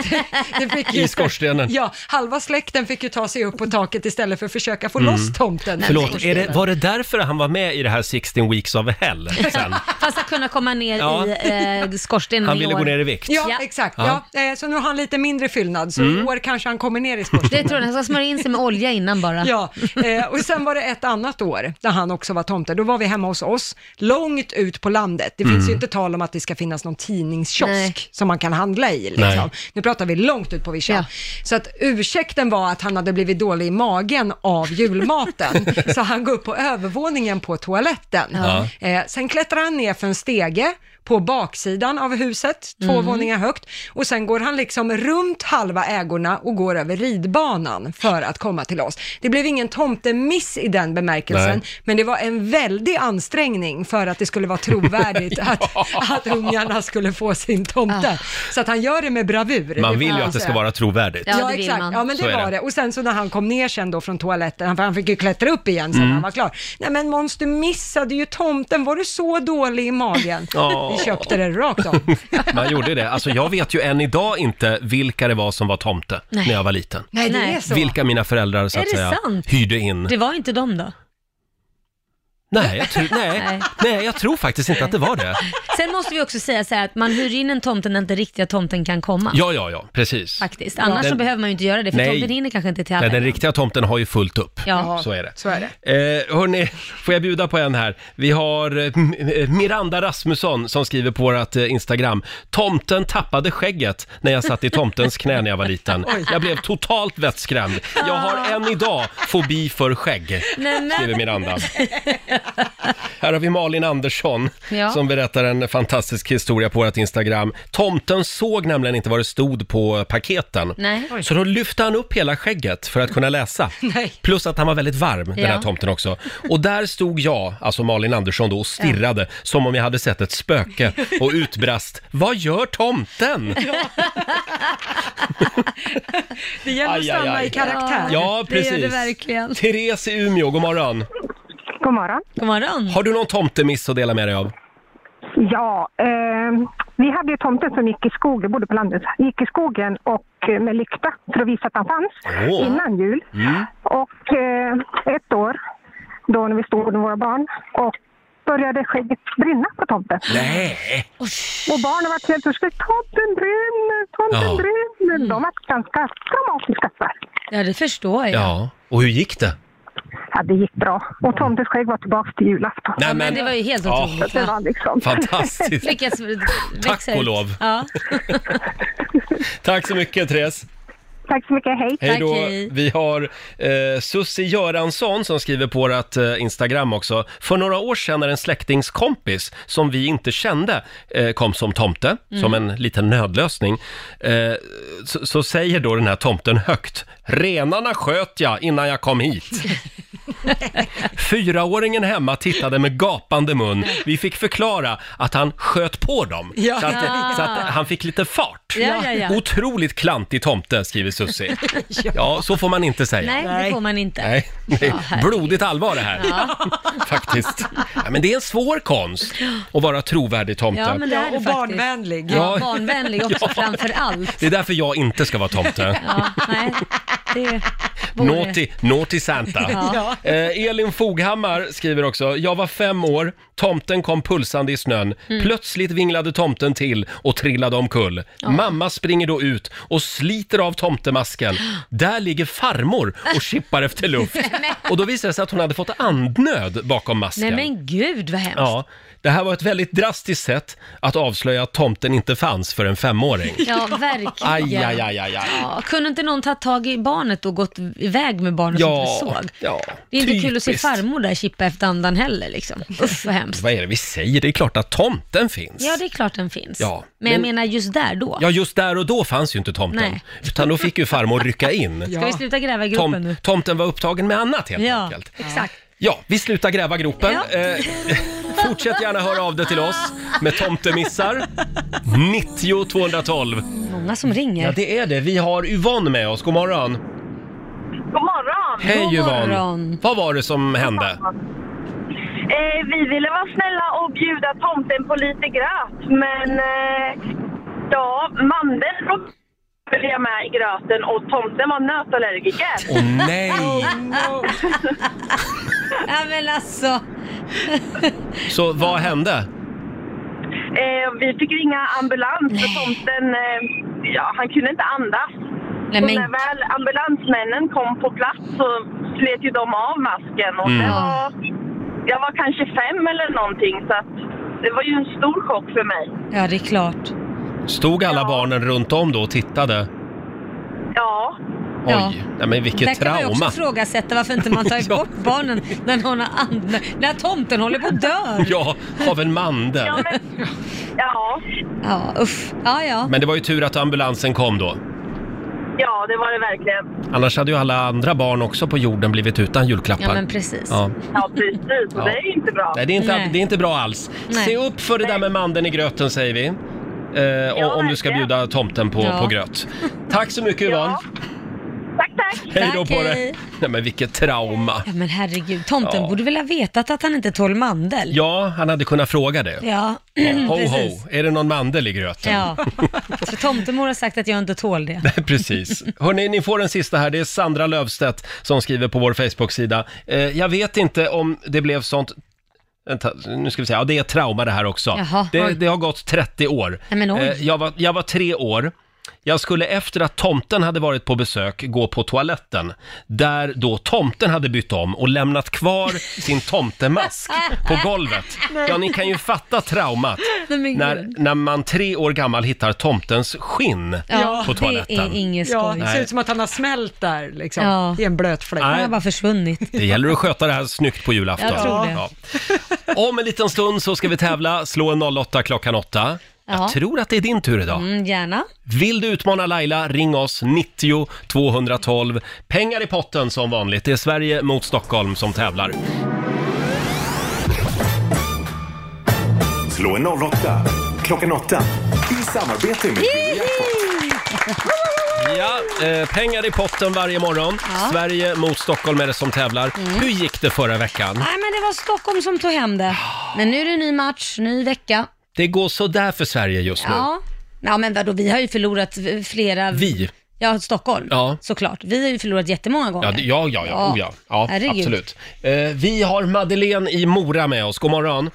S2: det fick ju-
S1: I skorstenen.
S2: Ja, halva släkten fick ju ta sig upp på taket istället för att försöka få
S1: Mm.
S2: loss tomten.
S1: Förlåt, är det, var det därför han var med i det här 16 weeks of hell sen?
S4: Fast att kunna komma ner
S1: Ja.
S4: i eh, skorstenen
S1: Han ville
S4: år.
S1: gå ner i vikt.
S2: Ja, exakt.
S1: Ja.
S2: Ja. eh, Så nu har han lite mindre fyllnad, så
S1: Mm.
S2: i år kanske han kommer ner i skorstenen.
S4: Det tror jag. Han ska smörja in sig med olja innan bara.
S2: Ja, eh, och sen var det ett annat år där han också var tomte. Då var vi hemma hos oss, långt ut på landet. Det finns
S11: Mm.
S2: ju inte tal om att det ska finnas någon tidningskiosk
S11: Nej.
S2: som man kan handla i.
S11: Nej.
S2: Liksom. Nu pratar vi långt ut på vischan. Så att ursäkten var att han hade blivit dålig i magen av julmaten. så han går upp på övervåningen på toaletten.
S11: Ja.
S2: Eh, sen klättrar han ner för en stege på baksidan av huset, två
S11: Mm.
S2: våningar högt. Och sen går han liksom runt halva ägorna och går över ridbanan för att komma till oss. Det blev ingen tomtemiss i den bemärkelsen,
S11: Nej.
S2: men det var en väldig ansträngning för att det skulle vara trovärdigt att, att ungarna skulle få sin tomte. Så att han gör det med bravur.
S1: Ah. Man
S2: får
S1: vill ju
S2: man
S1: att det ska
S2: säga.
S1: vara trovärdigt.
S2: Ja, exakt. Ja, men
S1: Så
S2: det
S1: är
S2: var det. Och sen så när han kom ner sen då från toaletten, han- för han fick ju klättra upp igen sen
S1: Mm.
S2: när han var klar. Nej men Måns, du missade ju tomten, var du så dålig i magen?
S1: Ja.
S2: Vi köpte det rakt av.
S1: Man gjorde det. Alltså jag vet ju än idag inte vilka det var som var tomte
S4: Nej.
S1: när jag var liten.
S4: Nej, det är så.
S1: Vilka mina föräldrar så
S4: Är
S1: att
S4: det
S1: säga
S4: sant?
S1: hyrde in.
S4: Det var inte dem då?
S1: Nej, jag tror, nej,
S4: Nej.
S1: nej, jag tror faktiskt inte att det var det.
S4: Sen måste vi också säga så här att man hyr in en tomte när inte riktiga tomten kan komma.
S1: Ja, ja, ja, precis.
S4: Faktiskt. Annars
S1: Den-
S4: så behöver man ju inte göra det, för
S1: Nej.
S4: tomten hinner kanske inte till alla.
S1: Nej, den riktiga tomten har ju fullt upp.
S4: Ja.
S1: Så är det.
S2: Så är det.
S1: Eh, hörni, får jag bjuda på en här? Vi har eh, M- eh, Miranda Rasmusson som skriver på vårt eh, Instagram. Tomten tappade skägget när jag satt i tomtens knä när jag var liten. Jag blev totalt vettskrämd. Jag har än idag fobi för skägg,
S4: Nej, men-
S1: skriver Miranda. Här har vi Malin Andersson
S4: Ja.
S1: som berättar en fantastisk historia på vårt Instagram. Tomten såg nämligen inte vad det stod på paketen.
S4: Nej.
S1: Så då lyfte han upp hela skägget för att kunna läsa.
S2: Nej.
S1: Plus att han var väldigt varm, den här
S4: Ja.
S1: tomten också. Och där stod jag, alltså Malin Andersson då, och stirrade som om jag hade sett ett spöke och utbrast Vad gör tomten?
S2: Det gäller att
S1: Aj, aj,
S2: stanna
S1: aj.
S2: i karaktär.
S1: Ja,
S4: det gör
S1: precis.
S4: det verkligen.
S1: Therese i Umeå, god morgon.
S6: God morgon.
S4: God morgon.
S1: Har du någon tomtemiss att dela med dig av?
S6: Ja, eh, vi hade ju tomten som gick i skogen, bodde på landet, gick i skogen och eh, med lykta för att visa att han fanns
S1: Åh.
S6: innan jul. Och eh, ett år, då när vi stod med våra barn, och började skägget brinna på tomten.
S1: Nej!
S6: Och barnen var helt förskräckta. Tomten brinner, tomten
S1: Ja.
S6: brinner. De var ganska traumatiska tyvärr.
S4: Ja, det förstår jag.
S1: Ja, och hur gick det?
S6: Ja, det gick bra. Och tomtens skägg var tillbaka till julafton.
S1: Nej,
S4: men det var ju helt
S1: Ja,
S4: otroligt.
S6: Det var liksom...
S1: Fantastiskt!
S4: Lyckas
S1: Tack
S4: växa
S1: och
S4: ut.
S1: lov.
S4: Ja.
S1: Tack så mycket Therese!
S6: Tack så mycket, hej.
S1: Hej
S4: Tack,
S1: då.
S4: hej.
S1: Vi har eh, Sussi Göransson som skriver på vårt eh, Instagram också. För några år sedan när en släktings kompis som vi inte kände eh, kom som tomte,
S4: Mm.
S1: som en liten nödlösning, eh, så, så säger då den här tomten högt Renarna sköt jag innan jag kom hit. Fyraåringen hemma tittade med gapande mun. Vi fick förklara att han sköt på dem,
S2: Ja.
S1: så, att, så att han fick lite fart.
S4: Ja, ja, ja.
S1: Otroligt klantig tomte, skriver Sussi. Ja, så får man inte säga.
S4: Nej,
S2: Nej.
S4: det får man inte.
S1: Nej, det
S4: Ja,
S1: är
S4: herregud.
S1: blodigt allvar det här. Faktiskt. Ja, men det är en svår konst att vara trovärdig tomte.
S4: Ja, men det är
S2: Ja,
S4: det
S2: och
S4: faktiskt.
S2: barnvänlig.
S4: Ja,
S1: Ja.
S4: barnvänlig också framför allt.
S1: Det är därför jag inte ska vara tomte.
S4: Ja, nej, det borde...
S1: Naughty, naughty Santa.
S4: Ja.
S1: Eh, Elin Foghammar skriver också, jag var fem år, tomten kom pulsande i snön,
S4: Mm.
S1: plötsligt vinglade tomten till och trillade omkull. Mamma springer då ut och sliter av tomtemasken. Där ligger farmor och kippar efter luft. Och då visade det sig att hon hade fått andnöd bakom masken.
S4: Nej men gud vad hemskt. Ja.
S1: Ja, det här var ett väldigt drastiskt sätt att avslöja att tomten inte fanns för en femåring.
S4: verkligen.
S1: Aj, aj, aj, aj, aj.
S4: Ja, kunde inte någon ta tag i barnet och gått iväg med barnet som
S1: Ja,
S4: inte såg?
S1: ja,
S4: Det är inte kul att se
S1: typiskt.
S4: farmor där chippa efter andan heller liksom. Usch vad hemskt.
S1: Vad är det vi säger? Det är klart att tomten finns.
S4: Ja, det är klart den finns.
S1: Ja,
S4: men jag
S1: men-
S4: menar just där då.
S1: Ja, just där och då fanns ju inte tomten.
S4: Nej.
S1: Utan då fick ju farmor rycka in.
S4: Ska vi sluta gräva i gropen
S1: Tom,
S4: nu?
S1: tomten var upptagen med annat helt
S4: Ja,
S1: enkelt.
S4: exakt.
S1: Ja, vi slutar gräva gropen.
S4: Ja.
S1: Eh, fortsätt gärna höra av dig till oss med tomtemissar. 90 212.
S4: Många som ringer.
S1: Ja, det är det. Vi har Yvonne med oss. God morgon.
S6: God morgon!
S1: Hej
S4: God
S1: Yvonne.
S4: morgon.
S1: Vad var det som hände?
S6: Eh, vi ville vara snälla och bjuda tomten på lite gröt, men eh, ja, mandeln följde jag med i gröten och tomten var nötallergiker.
S1: Åh nej!
S4: Ja, men alltså.
S1: Så vad hände?
S6: Eh, vi fick ringa ambulans för tomten, eh, ja, han kunde inte andas.
S4: Nej,
S6: Och när
S4: men,
S6: väl ambulansmännen kom på plats så slet ju de av masken och det
S1: Mm.
S6: var, jag var kanske fem eller någonting så att det var ju en stor chock för mig.
S4: ja, det är klart.
S1: Stod alla
S6: Ja.
S1: barnen runt om då och tittade?
S6: Ja,
S1: Oj,
S4: Ja.
S1: nej, men
S4: Där
S1: vilket
S4: kan man ju också
S1: trauma.
S4: ifrågasätta varför inte man tar
S1: Ja.
S4: bort barnen när, någon har and- när tomten håller på att dö.
S1: Ja, av en mandel.
S6: ja men... Ja,
S4: Ja, usch. Ja, ja.
S1: Men det var ju tur att ambulansen kom då.
S6: ja det var det verkligen.
S1: Annars hade ju alla andra barn också på jorden blivit utan julklappar.
S4: Ja, men precis.
S1: Ja.
S6: Ja, precis. Och det är ju inte bra.
S1: Nej, det är, inte,
S4: Nej.
S1: det är inte bra alls.
S4: Nej.
S1: Se upp för det där med mandeln i gröten säger vi. Eh, om- om du ska
S6: verkligen.
S1: bjuda tomten på,
S4: Ja.
S1: på gröt. Tack så mycket Yvonne.
S6: Tack tack.
S1: Hej då på dig! Nej men vilket trauma.
S4: Ja men herregud, tomten
S1: Ja.
S4: borde väl ha vetat att han inte tål mandel?
S1: Ja, han hade kunnat fråga det.
S4: Ja,
S1: Ho, ho,
S4: Mm, precis.
S1: är det någon mandel i gröten?
S4: Ja. Så tomtemor har sagt att jag inte tål det.
S1: Precis. Hörrni, ni får den sista här. Det är Sandra Lövstedt som skriver på vår Facebook-sida. Eh, jag vet inte om det blev sånt... Vänta, nu ska vi se. Ja, det är ett trauma det här också.
S4: Jaha.
S1: Det,
S4: Oj.
S1: det har gått 30 år. Eh,
S4: Nej, men oj.
S1: jag, var, jag var tre år. Jag skulle efter att tomten hade varit på besök gå på toaletten där då tomten hade bytt om och lämnat kvar sin tomtemask på golvet. Ja, ni kan ju fatta traumat
S4: Nej, men gud.
S1: när, när man tre år gammal hittar tomtens skinn
S4: Ja,
S1: på
S4: det
S1: toaletten.
S4: är inget
S2: Ja,
S4: skoj.
S2: det
S1: Nej.
S2: ser ut som att han har smält där liksom,
S4: Ja.
S2: i en blöt fläck.
S4: Han har bara försvunnit.
S1: Det gäller att sköta det här snyggt på julafton.
S4: Jag tror det.
S1: Ja. Om en liten stund så ska vi tävla. Slå en 08 klockan 8.
S4: Ja.
S1: Jag tror att det är din tur idag.
S4: Mm, gärna.
S1: Vill du utmana Laila, ring oss 90 212. Pengar i potten som vanligt. Det är Sverige mot Stockholm som tävlar.
S3: Slå en 08 klockan 8 i samarbete med
S1: Ja, eh, pengar i potten varje morgon. Sverige mot Stockholm är det som tävlar.
S4: Mm.
S1: Hur gick det förra veckan?
S4: Nej, men det var Stockholm som tog hem det. Men nu är det ny match, ny vecka.
S1: Det går så där för Sverige just nu.
S4: Ja. Ja men vadå, vi har ju förlorat flera...
S1: Vi.
S4: Ja, Stockholm.
S1: Ja.
S4: Såklart. Vi har ju förlorat jättemånga gånger.
S1: Ja, det- ja, ja, ja, oh, ja. ja
S4: Herregud.
S1: absolut. Eh, vi har Madeleine i Mora med oss. God morgon.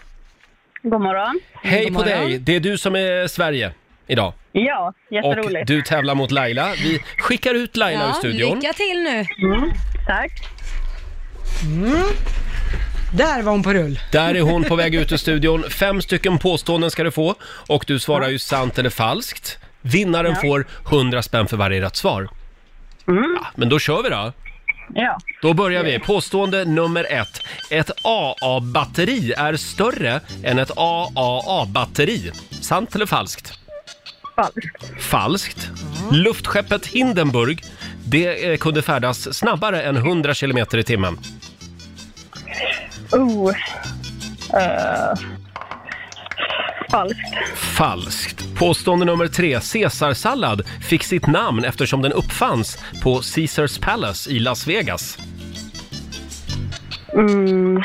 S6: God morgon.
S1: Hej
S4: God
S1: på
S4: morgon.
S1: dig. Det är du som är Sverige idag.
S6: Ja,
S1: Och
S6: jätteroligt.
S1: du tävlar mot Laila. Vi skickar ut Laila ur
S4: Ja,
S1: studion.
S4: lycka till nu.
S6: Tack.
S2: Där var hon på rull.
S1: Där är hon på väg ut ur studion. Fem stycken påståenden ska du få och du svarar ju sant eller falskt. Vinnaren får 100 spänn för varje rätt svar.
S4: Mm.
S1: Ja, men då kör vi då.
S6: Ja.
S1: Då börjar vi. Påstående nummer ett. Ett AA-batteri är större än ett AAA-batteri. Sant eller falskt?
S6: Falskt.
S1: Falskt. Luftskeppet Hindenburg, det eh, kunde färdas snabbare än 100 km i timmen.
S6: Oh. Eh, falskt.
S1: Falskt. Påstående nummer tre. Caesarsallad fick sitt namn eftersom den uppfanns på Caesars Palace i Las Vegas.
S6: Mm.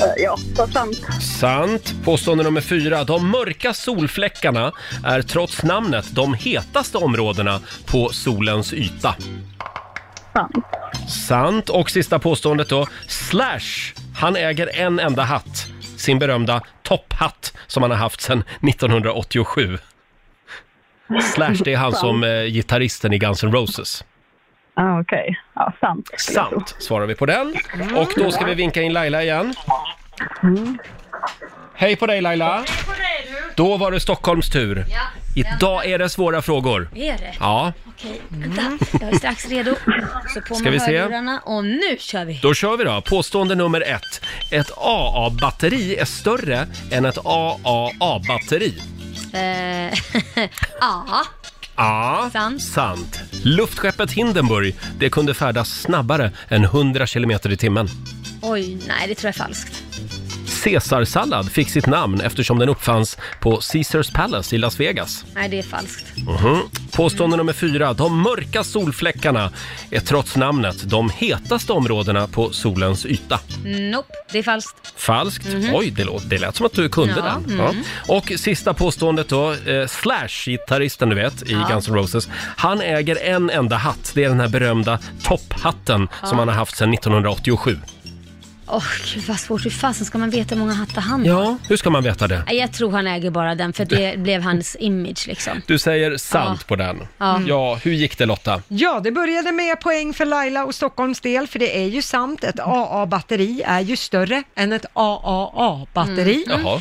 S6: Eh, ja, så sant.
S1: Sant. Påstående nummer fyra. De mörka solfläckarna är trots namnet de hetaste områdena på solens yta.
S6: Sant.
S1: Sant. Och sista påståendet då. Slash, han äger en enda hatt. Sin berömda topphatt som han har haft sedan 1987. Slash, det är han som eh, gitarristen i Guns N' Roses.
S6: Ah, Okej. Ja, sant.
S1: Sant, svarar vi på den. Och då ska vi vinka in Laila igen. Hej på dig Laila! Då var det Stockholms tur. Idag är det svåra frågor.
S4: Är det?
S1: Ja,
S4: Okej, vänta. Jag är strax redo. Så på
S1: Ska vi
S4: med
S1: se?
S4: hörlurarna och nu kör vi.
S1: då kör vi då. Påstående nummer ett. Ett AA-batteri är större än ett AAA-batteri.
S4: Eh, ja,
S1: Ja,
S4: Sant.
S1: sant. Luftskeppet Hindenburg, det kunde färdas snabbare än 100 km i timmen.
S4: oj, nej det tror jag är falskt.
S1: Caesarsallad fick sitt namn eftersom den uppfanns på Caesars Palace i Las Vegas.
S4: Nej, det är falskt.
S1: Mhm. Påstående nummer fyra. De mörka solfläckarna är trots namnet de hetaste områdena på solens yta.
S4: Nope, det är falskt.
S1: Falskt. Oj, det, lå- det lät som att du kunde
S4: Ja,
S1: den. Mhm. Ja. mm. Och sista påståendet då. Eh, Slash, gitarristen du vet i Guns N' Roses. Han äger en enda hatt. Det är den här berömda topphatten som han har haft sedan 1987.
S4: Åh, gud vad svårt. Hur fasen ska man veta hur många hattar han har?
S1: Ja, hur ska man veta det?
S4: Nej, Jag tror han äger bara den för det blev hans image liksom.
S1: Du säger sant på den. Ja. Mm. hur gick det Lotta?
S2: Ja, det började med poäng för Laila och Stockholms del, för det är ju sant,
S1: Mm.
S2: ett AA-batteri är ju större än ett AAA-batteri.
S1: Mm. Jaha.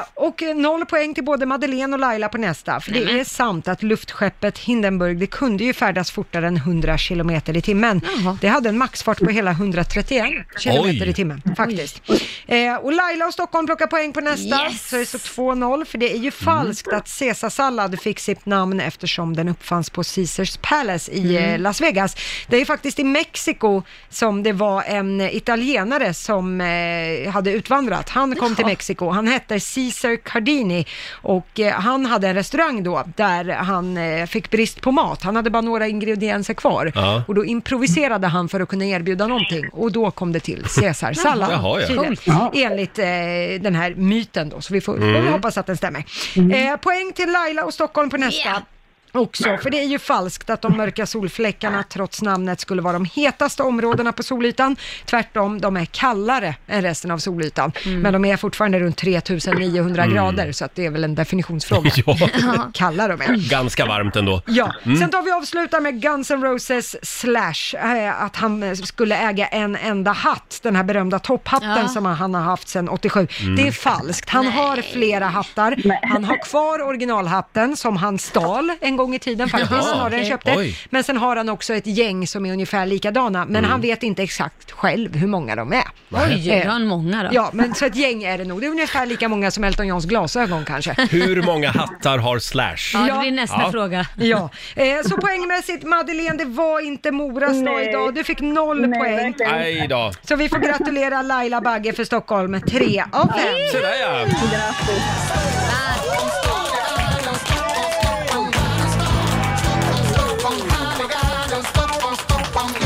S2: Eh, och noll poäng till både Madeleine och Laila på nästa, för det är sant att luftskeppet Hindenburg, det kunde ju färdas fortare än 100 kilometer i timmen.
S4: Jaha.
S2: Det hade en maxfart på hela 131 kilometer
S1: Oj.
S2: i timmen faktiskt. Eh, och Laila och Stockholm plockar poäng på nästa,
S4: Yes!
S2: så det står 2-0, Alltså, för det är ju falskt att caesarsallad fick sitt namn eftersom den uppfanns på Caesars Palace i eh, Las Vegas. Det är ju faktiskt i Mexiko som det var en italienare som eh, hade utvandrat. Han kom till Mexiko, han hette Caesar Cardini och eh, han hade en restaurang då där han eh, fick brist på mat. Han hade bara några ingredienser kvar
S1: Ja.
S2: och då improviserade han för att kunna erbjuda någonting och då kom det till caesarsallad.
S1: Jaha, ja.
S2: tydligen. Enligt eh, den här myten då, så vi får,
S1: Mm.
S2: får vi hoppas att den stämmer. Eh, poäng till Laila och Stockholm på nästa.
S4: Yeah.
S2: Också, för det är ju falskt att de mörka solfläckarna trots namnet skulle vara de hetaste områdena på solytan. Tvärtom, de är kallare än resten av solytan. Men de är fortfarande runt 3900 grader, så att det är väl en definitionsfråga.
S1: Mm. Ja.
S2: Kalla de är.
S1: Ganska varmt ändå.
S2: Ja, sen tar vi avsluta med Guns N' Roses Slash, eh, att han eh, skulle äga en enda hatt, den här berömda topphatten
S4: Ja.
S2: som han har haft sedan 87.
S1: Mm.
S2: Det är falskt, han har flera hattar. Han har kvar originalhatten som han stal en gång i tiden faktiskt,
S1: Jaha.
S2: snarare än köpte.
S1: Oj. Mm.
S2: Men sen har han också ett gäng som är ungefär likadana, men han vet inte exakt själv hur många de är.
S4: Oj,
S2: Eh,
S4: då har han många då.
S2: Ja, men så ett gäng är det nog. Det är ungefär lika många som Elton Johns glasögon kanske.
S1: Hur många hattar har Slash?
S4: Ja,
S2: Ja.
S4: det blir nästa
S1: Ja.
S4: fråga.
S2: Ja, eh, så poängmässigt Madeleine, det var inte Moras dag
S6: Nej.
S2: idag. Du fick noll poäng.
S6: verkligen.
S1: Nej då.
S2: Så vi får gratulera Laila Bagge för Stockholm, tre av fem.
S1: Så där ja.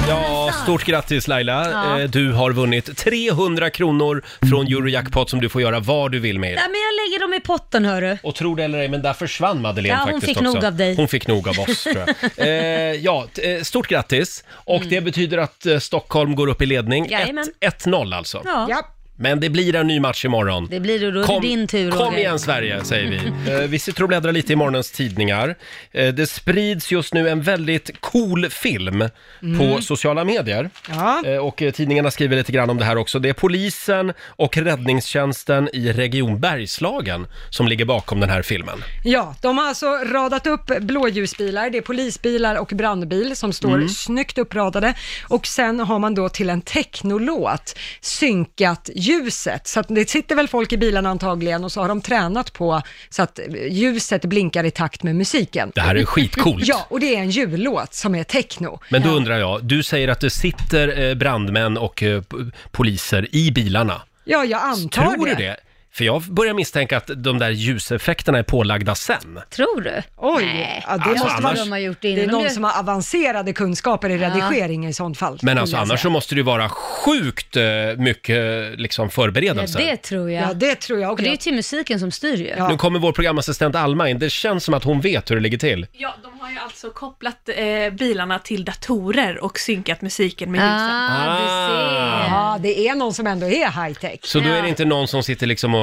S1: Ja, stort grattis Laila.
S4: Ja.
S1: Eh, Du har vunnit 300 kronor från Eurojackpot som du får göra vad du vill med.
S4: Nej, men jag lägger dem i potten hörru.
S1: Och tro det eller ej, men där försvann Madeleine
S4: Ja, hon
S1: faktiskt
S4: fick
S1: också.
S4: nog av dig.
S1: Hon fick nog av oss, tror jag. Eh, ja, t- eh, stort grattis. Och det betyder att eh, Stockholm går upp i ledning.
S4: Mm. Jajamän.
S1: 1-0 alltså.
S4: Ja,
S2: Ja.
S1: Men det blir en ny match imorgon.
S4: det blir det. Då är det din tur
S1: Kom
S4: Roger.
S1: igen Sverige, säger vi. Eh, vi sitter och bläddrar lite i morgonens tidningar. Eh, det sprids just nu en väldigt cool film
S4: Mm.
S1: på sociala medier.
S2: Ja.
S1: Eh, och eh, tidningarna skriver lite grann om det här också. Det är polisen och räddningstjänsten i Region Bergslagen som ligger bakom den här filmen.
S2: ja, de har alltså radat upp blåljusbilar, det är polisbilar och brandbil som står
S1: Mm.
S2: snyggt uppradade och sen har man då till en technolåt synkat ljuset. Så att det sitter väl folk i bilarna antagligen och så har de tränat på så att eh, ljuset blinkar i takt med musiken.
S1: Det här är skitcoolt.
S2: Ja, och det är en jullåt som är techno.
S1: Men då undrar jag, du säger att det sitter eh, brandmän och eh, p- poliser i bilarna.
S2: Ja, jag antar
S1: Tror du det? För jag börjar misstänka att de där ljuseffekterna är pålagda sen.
S4: Tror du?
S2: Oj,
S4: Nej.
S2: ja, det,
S1: Alltså,
S2: måste
S1: annars-
S2: vara,
S4: de har gjort
S2: det är
S4: innan
S2: någon
S4: du-
S2: som har avancerade kunskaper i redigering i sånt fall.
S1: Men alltså
S2: skulle jag
S1: annars så
S2: säga.
S1: måste det ju vara sjukt eh, mycket eh, liksom
S4: Ja,
S1: förberedelser.
S4: det tror jag.
S2: Ja, det tror jag
S4: Och det är ju
S2: också.
S4: till musiken som styr ju.
S2: Ja.
S1: Nu kommer vår programassistent Alma in. Det känns som att hon vet hur det ligger till.
S11: Ja, de har ju alltså kopplat eh, bilarna till datorer och synkat musiken med ljusen.
S4: Ah, du ser.
S1: Ah,
S2: Ja, det är någon som ändå är high tech.
S1: Så då är det inte någon som sitter liksom och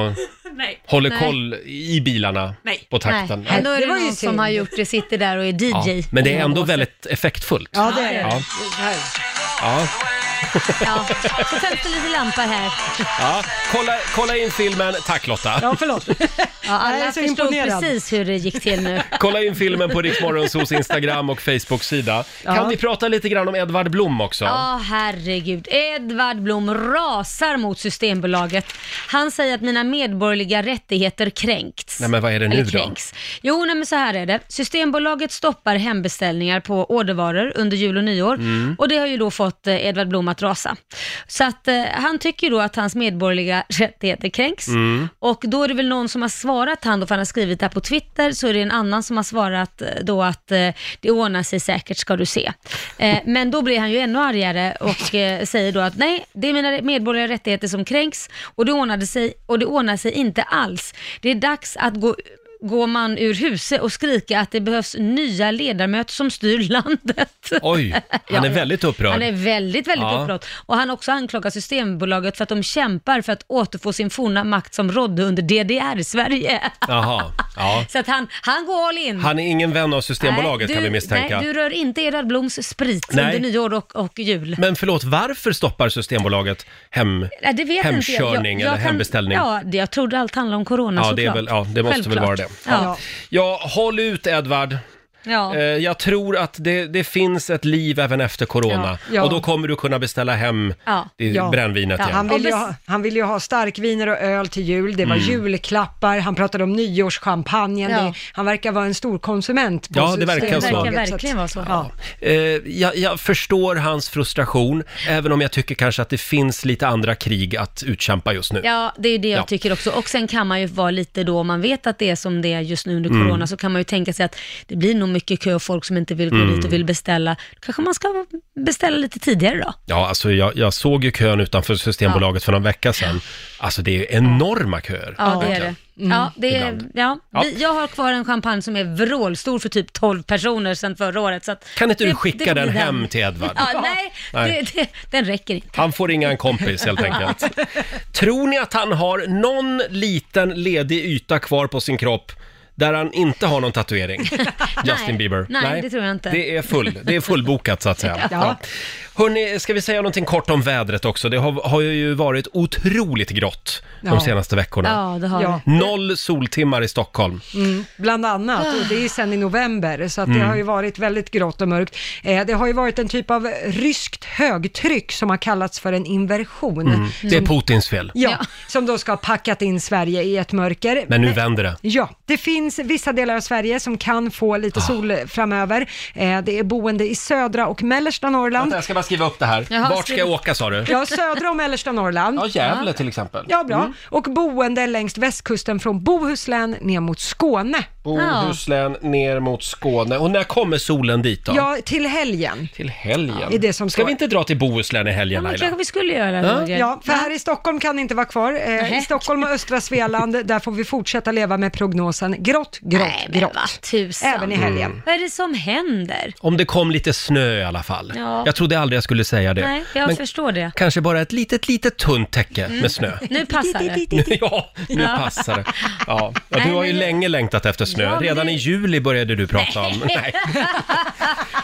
S11: Nej.
S1: håller
S4: Nej.
S1: koll i bilarna
S11: Nej.
S1: på
S4: Nej,
S1: takten.
S4: men då är
S2: Det
S4: det,
S2: var ju
S4: någon
S2: synd.
S4: som har gjort det, sitter där och är DJ.
S1: Ja, men det är ändå väldigt effektfullt.
S2: Ja, det är det.
S1: Ja. Ja.
S4: Ja. Så tänds det lite lampor här.
S1: Ja. Kolla, kolla in filmen, tack Lotta.
S2: Ja, förlåt.
S4: Ja, alla
S2: Jag är så
S4: förstod
S2: imponerad.
S4: precis hur det gick till nu.
S1: Kolla in filmen på Riksmorgonsos Instagram och Facebook-sida. Kan vi prata lite grann om Edvard Blom också?
S4: Ja, herregud. Edvard Blom rasar mot Systembolaget. Han säger att mina medborgerliga rättigheter kränkts.
S1: Nej, men vad är det nu
S4: Eller
S1: då?
S4: kränks. Jo, nej, men så här är det. Systembolaget stoppar hembeställningar på ordervaror under jul och nyår och det har ju då fått eh, Edvard Blom att rasa. Så att eh, han tycker ju då att hans medborgerliga rättigheter kränks och då är det väl någon som har svarat han då, för han har skrivit det här på Twitter, så är det en annan som har svarat eh, då att eh, det ordnar sig säkert ska du se. Eh, men då blir han ju ännu argare och eh, säger då att nej, det är mina medborgerliga rättigheter som kränks och det, ordnade sig, och det ordnar sig inte alls. Det är dags att gå går man ur huset och skrika att det behövs nya ledamöter som styr landet.
S1: Oj, han är väldigt upprörd.
S4: Han är väldigt, väldigt
S1: Ja.
S4: upprörd. Och han har också anklagat Systembolaget för att de kämpar för att återfå sin forna makt som rådde under DDR-Sverige.
S1: Jaha, ja.
S4: Så att han, han går all in.
S1: Han är ingen vän av Systembolaget
S4: Nej,
S1: kan
S4: du-
S1: vi misstänka.
S4: Nej, du rör inte Edvard Bloms sprit
S1: Nej.
S4: under nyår och, och jul.
S1: Men förlåt, varför stoppar Systembolaget hem...
S4: Nej, det vet inte
S1: Hemkörning eller hembeställning.
S4: Ja, det, jag trodde allt handlade om corona
S1: Ja,
S4: såklart.
S1: det, är väl, ja, det måste väl
S4: Självklart.
S1: vara det.
S4: Ja.
S1: Ja, håll ut Edvard.
S4: Ja.
S1: Eh, Jag tror att det, det finns ett liv även efter corona.
S2: Ja. Ja.
S1: Och då kommer du kunna beställa hem i brännvinet igen.
S2: han, vill ju ha, han vill ju ha starkviner och öl till jul, det var
S1: Mm.
S2: julklappar, han pratade om nyårschampagnen,
S4: Ja.
S2: det, han verkar vara en stor konsument på
S1: Ja, det verkar Det verkar så.
S4: verkligen vara så.
S2: Ja.
S1: Eh, jag, jag förstår hans frustration, även om jag tycker kanske att det finns lite andra krig att utkämpa just nu.
S4: Ja, det är det jag
S1: Ja.
S4: tycker också. Och sen kan man ju vara lite då, om man vet att det är som det är just nu under
S1: Mm.
S4: corona, så kan man ju tänka sig att det blir nog mycket kö och folk som inte vill gå
S1: Mm.
S4: dit och vill beställa. Då kanske man ska beställa lite tidigare då.
S1: Ja, alltså jag, jag såg ju kön utanför Systembolaget för någon vecka sedan. Alltså det är ju enorma köer.
S4: Ja, det är
S1: verkligen.
S4: det.
S2: Mm.
S4: Ja, det är,
S1: Ibland.
S4: ja.
S1: Ja.
S4: Vi, jag har kvar en champagne som är vrålstor för typ 12 personer sedan förra året. Så att
S1: Kan inte
S4: det-
S1: du
S4: det
S1: skicka
S4: får bli
S1: den hem till Edvard?
S4: Ja, nej,
S1: Nej.
S4: Det, det, den räcker inte.
S1: Han får ringa en kompis helt enkelt. Tror ni att han har någon liten ledig yta kvar på sin kropp där han inte har någon tatuering? Justin Bieber.
S4: nej, det tror jag inte.
S1: Det är, full, det är fullbokat så att säga.
S4: Ja.
S1: Hörrni, ska vi säga någonting kort om vädret också? Det har, har ju varit otroligt grått
S2: Ja.
S1: de senaste veckorna.
S2: Ja, det har Ja. det.
S1: Noll soltimmar i Stockholm.
S2: Mm, bland annat, och det är sedan i november, så att det
S1: Mm.
S2: har ju varit väldigt grått och mörkt. Eh, det har ju varit en typ av ryskt högtryck som har kallats för en inversion.
S1: Mm. Det är
S2: Som-
S1: Putins fel.
S2: Ja, som då ska ha packat in Sverige i ett mörker.
S1: Men nu vänder det.
S2: Ja, det finns vissa delar av Sverige som kan få
S1: Ah.
S2: lite sol framöver. Eh, det är boende i södra och mellersta Norrland.
S1: Vänta, jag ska bara skriva upp det här.
S2: Jaha,
S1: Vart ska
S2: skriv-
S1: jag åka sa du?
S2: Ja, södra och mellersta Norrland.
S1: Ja, Gävle till exempel.
S2: Ja, bra.
S1: Mm.
S2: Och boende längs västkusten från Bohuslän ner mot Skåne.
S1: Bohuslän ner mot Skåne. Och när kommer solen dit då?
S2: Ja, till helgen.
S1: Till helgen.
S2: Ja, är det som
S1: Ska
S2: står.
S1: vi inte dra till Bohuslän i helgen Laila?
S4: vi skulle göra
S1: Ja. Roger.
S2: Ja, för här i Stockholm kan det inte vara kvar. Eh, I Stockholm och östra Svealand, där får vi fortsätta leva med prognosen grått, grått, grått.
S4: tusan.
S2: Även i helgen.
S1: Mm.
S4: Vad är det som händer?
S1: Om det kom lite snö i alla fall.
S4: Ja.
S1: Jag trodde aldrig jag skulle säga det.
S4: Nej, jag
S1: Men
S4: förstår det.
S1: kanske bara ett litet, litet tunt täcke
S4: Mm.
S1: med snö.
S4: Nu passar det.
S1: ja, nu
S4: Ja.
S1: passar det. Ja. Ja,
S4: Nej,
S1: du har
S4: men
S1: ju
S4: det-
S1: länge längtat efter snö.
S4: Ja, men
S1: Redan
S4: det-
S1: i juli började du prata om. Nej.